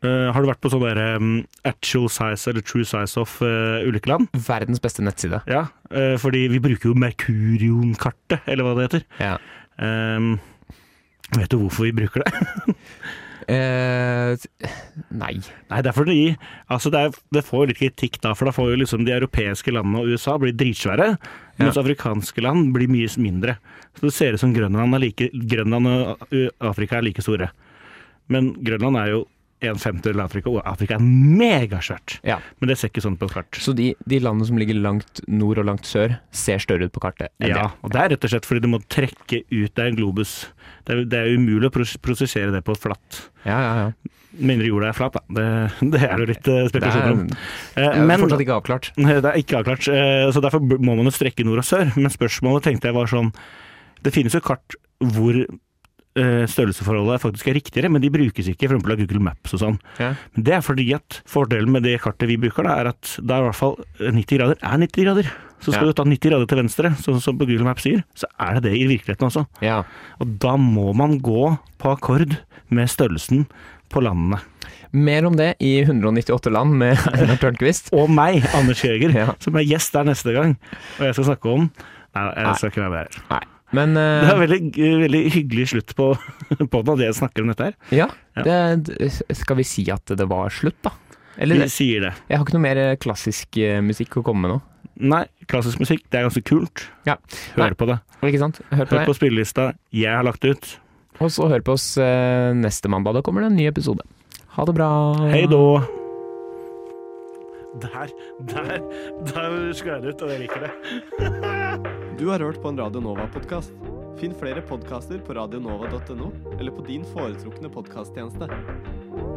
[SPEAKER 2] eh, Har du vært på sånn der em, actual size eller true size of eh, ulykkeland?
[SPEAKER 1] Verdens beste nettside.
[SPEAKER 2] Ja, eh, fordi vi bruker jo Merkurion-kartet, eller hva det heter.
[SPEAKER 1] Ja.
[SPEAKER 2] Em, vet du hvorfor vi bruker det?
[SPEAKER 1] Eh, nei.
[SPEAKER 2] Nei, det er fordi altså det, er, det får jo litt kritikk da, for da får jo liksom de europeiske landene og USA blir dritsvære, mens afrikanske land blir mye mindre. Så det ser ut som Grønland, er like, Grønland og ø, Afrika er like store. Men Grønland er jo en femtedel av Afrika, og Afrika er megasvært.
[SPEAKER 1] Ja.
[SPEAKER 2] Men det ser ikke sånn på et kart.
[SPEAKER 1] Så de, de landene som ligger langt nord og langt sør, ser større ut på kartet. enn
[SPEAKER 2] Ja,
[SPEAKER 1] det.
[SPEAKER 2] og det er rett og slett fordi du må trekke ut Det er en globus. Det er, det er umulig å pros- prosessere det på flatt.
[SPEAKER 1] ja, ja, ja.
[SPEAKER 2] Mindre jorda er flat, da. Det, det er jo litt
[SPEAKER 1] Det
[SPEAKER 2] eh,
[SPEAKER 1] er,
[SPEAKER 2] spekulasjoner om. Eh,
[SPEAKER 1] det er
[SPEAKER 2] men-
[SPEAKER 1] fortsatt ikke avklart.
[SPEAKER 2] Nei, Det er ikke avklart, eh, så derfor b- må man jo strekke nord og sør. Men spørsmålet tenkte jeg var sånn Det finnes jo kart hvor eh, størrelsesforholdet faktisk er riktigere, men de brukes ikke, for eksempel av Google Maps og sånn.
[SPEAKER 1] Ja.
[SPEAKER 2] Men det er fordi at fordelen med det kartet vi bruker, da, er at det er i hvert fall 90 grader er 90 grader. Så skal
[SPEAKER 1] Ja.
[SPEAKER 2] du ta 90 grader til venstre, sånn som på Google Maps sier, så er det det i virkeligheten også.
[SPEAKER 1] Ja.
[SPEAKER 2] Og da må man gå på akkord med størrelsen på landene.
[SPEAKER 1] Mer om det i 198 land med Einar Tørnquist.
[SPEAKER 2] og meg, Anders Jøger,
[SPEAKER 1] Ja.
[SPEAKER 2] som er gjest der neste gang. Og jeg skal snakke om Nei, jeg skal ikke være med her.
[SPEAKER 1] Nei. Men eh,
[SPEAKER 2] Det er veldig, veldig hyggelig slutt på podden at jeg snakker om dette her.
[SPEAKER 1] Ja,
[SPEAKER 2] Ja.
[SPEAKER 1] Det, skal vi si at det var slutt, da? Eller,
[SPEAKER 2] Vi sier det.
[SPEAKER 1] jeg har ikke noe mer klassisk eh, musikk å komme med nå.
[SPEAKER 2] Nei, klassisk musikk, det er ganske kult.
[SPEAKER 1] Ja.
[SPEAKER 2] Hør på det.
[SPEAKER 1] Ikke sant? Hør på
[SPEAKER 2] Hør
[SPEAKER 1] det.
[SPEAKER 2] på spillelista jeg har lagt ut.
[SPEAKER 1] Og så hør på oss eh, neste mandag. Da kommer det en ny episode. Ha det bra.
[SPEAKER 2] Hei då! Der, der, der skar det ut, og jeg liker det.
[SPEAKER 4] Du har hørt på en Radio Nova-podkast. Finn flere podkaster på radionova.no eller på din foretrukne podkasttjeneste.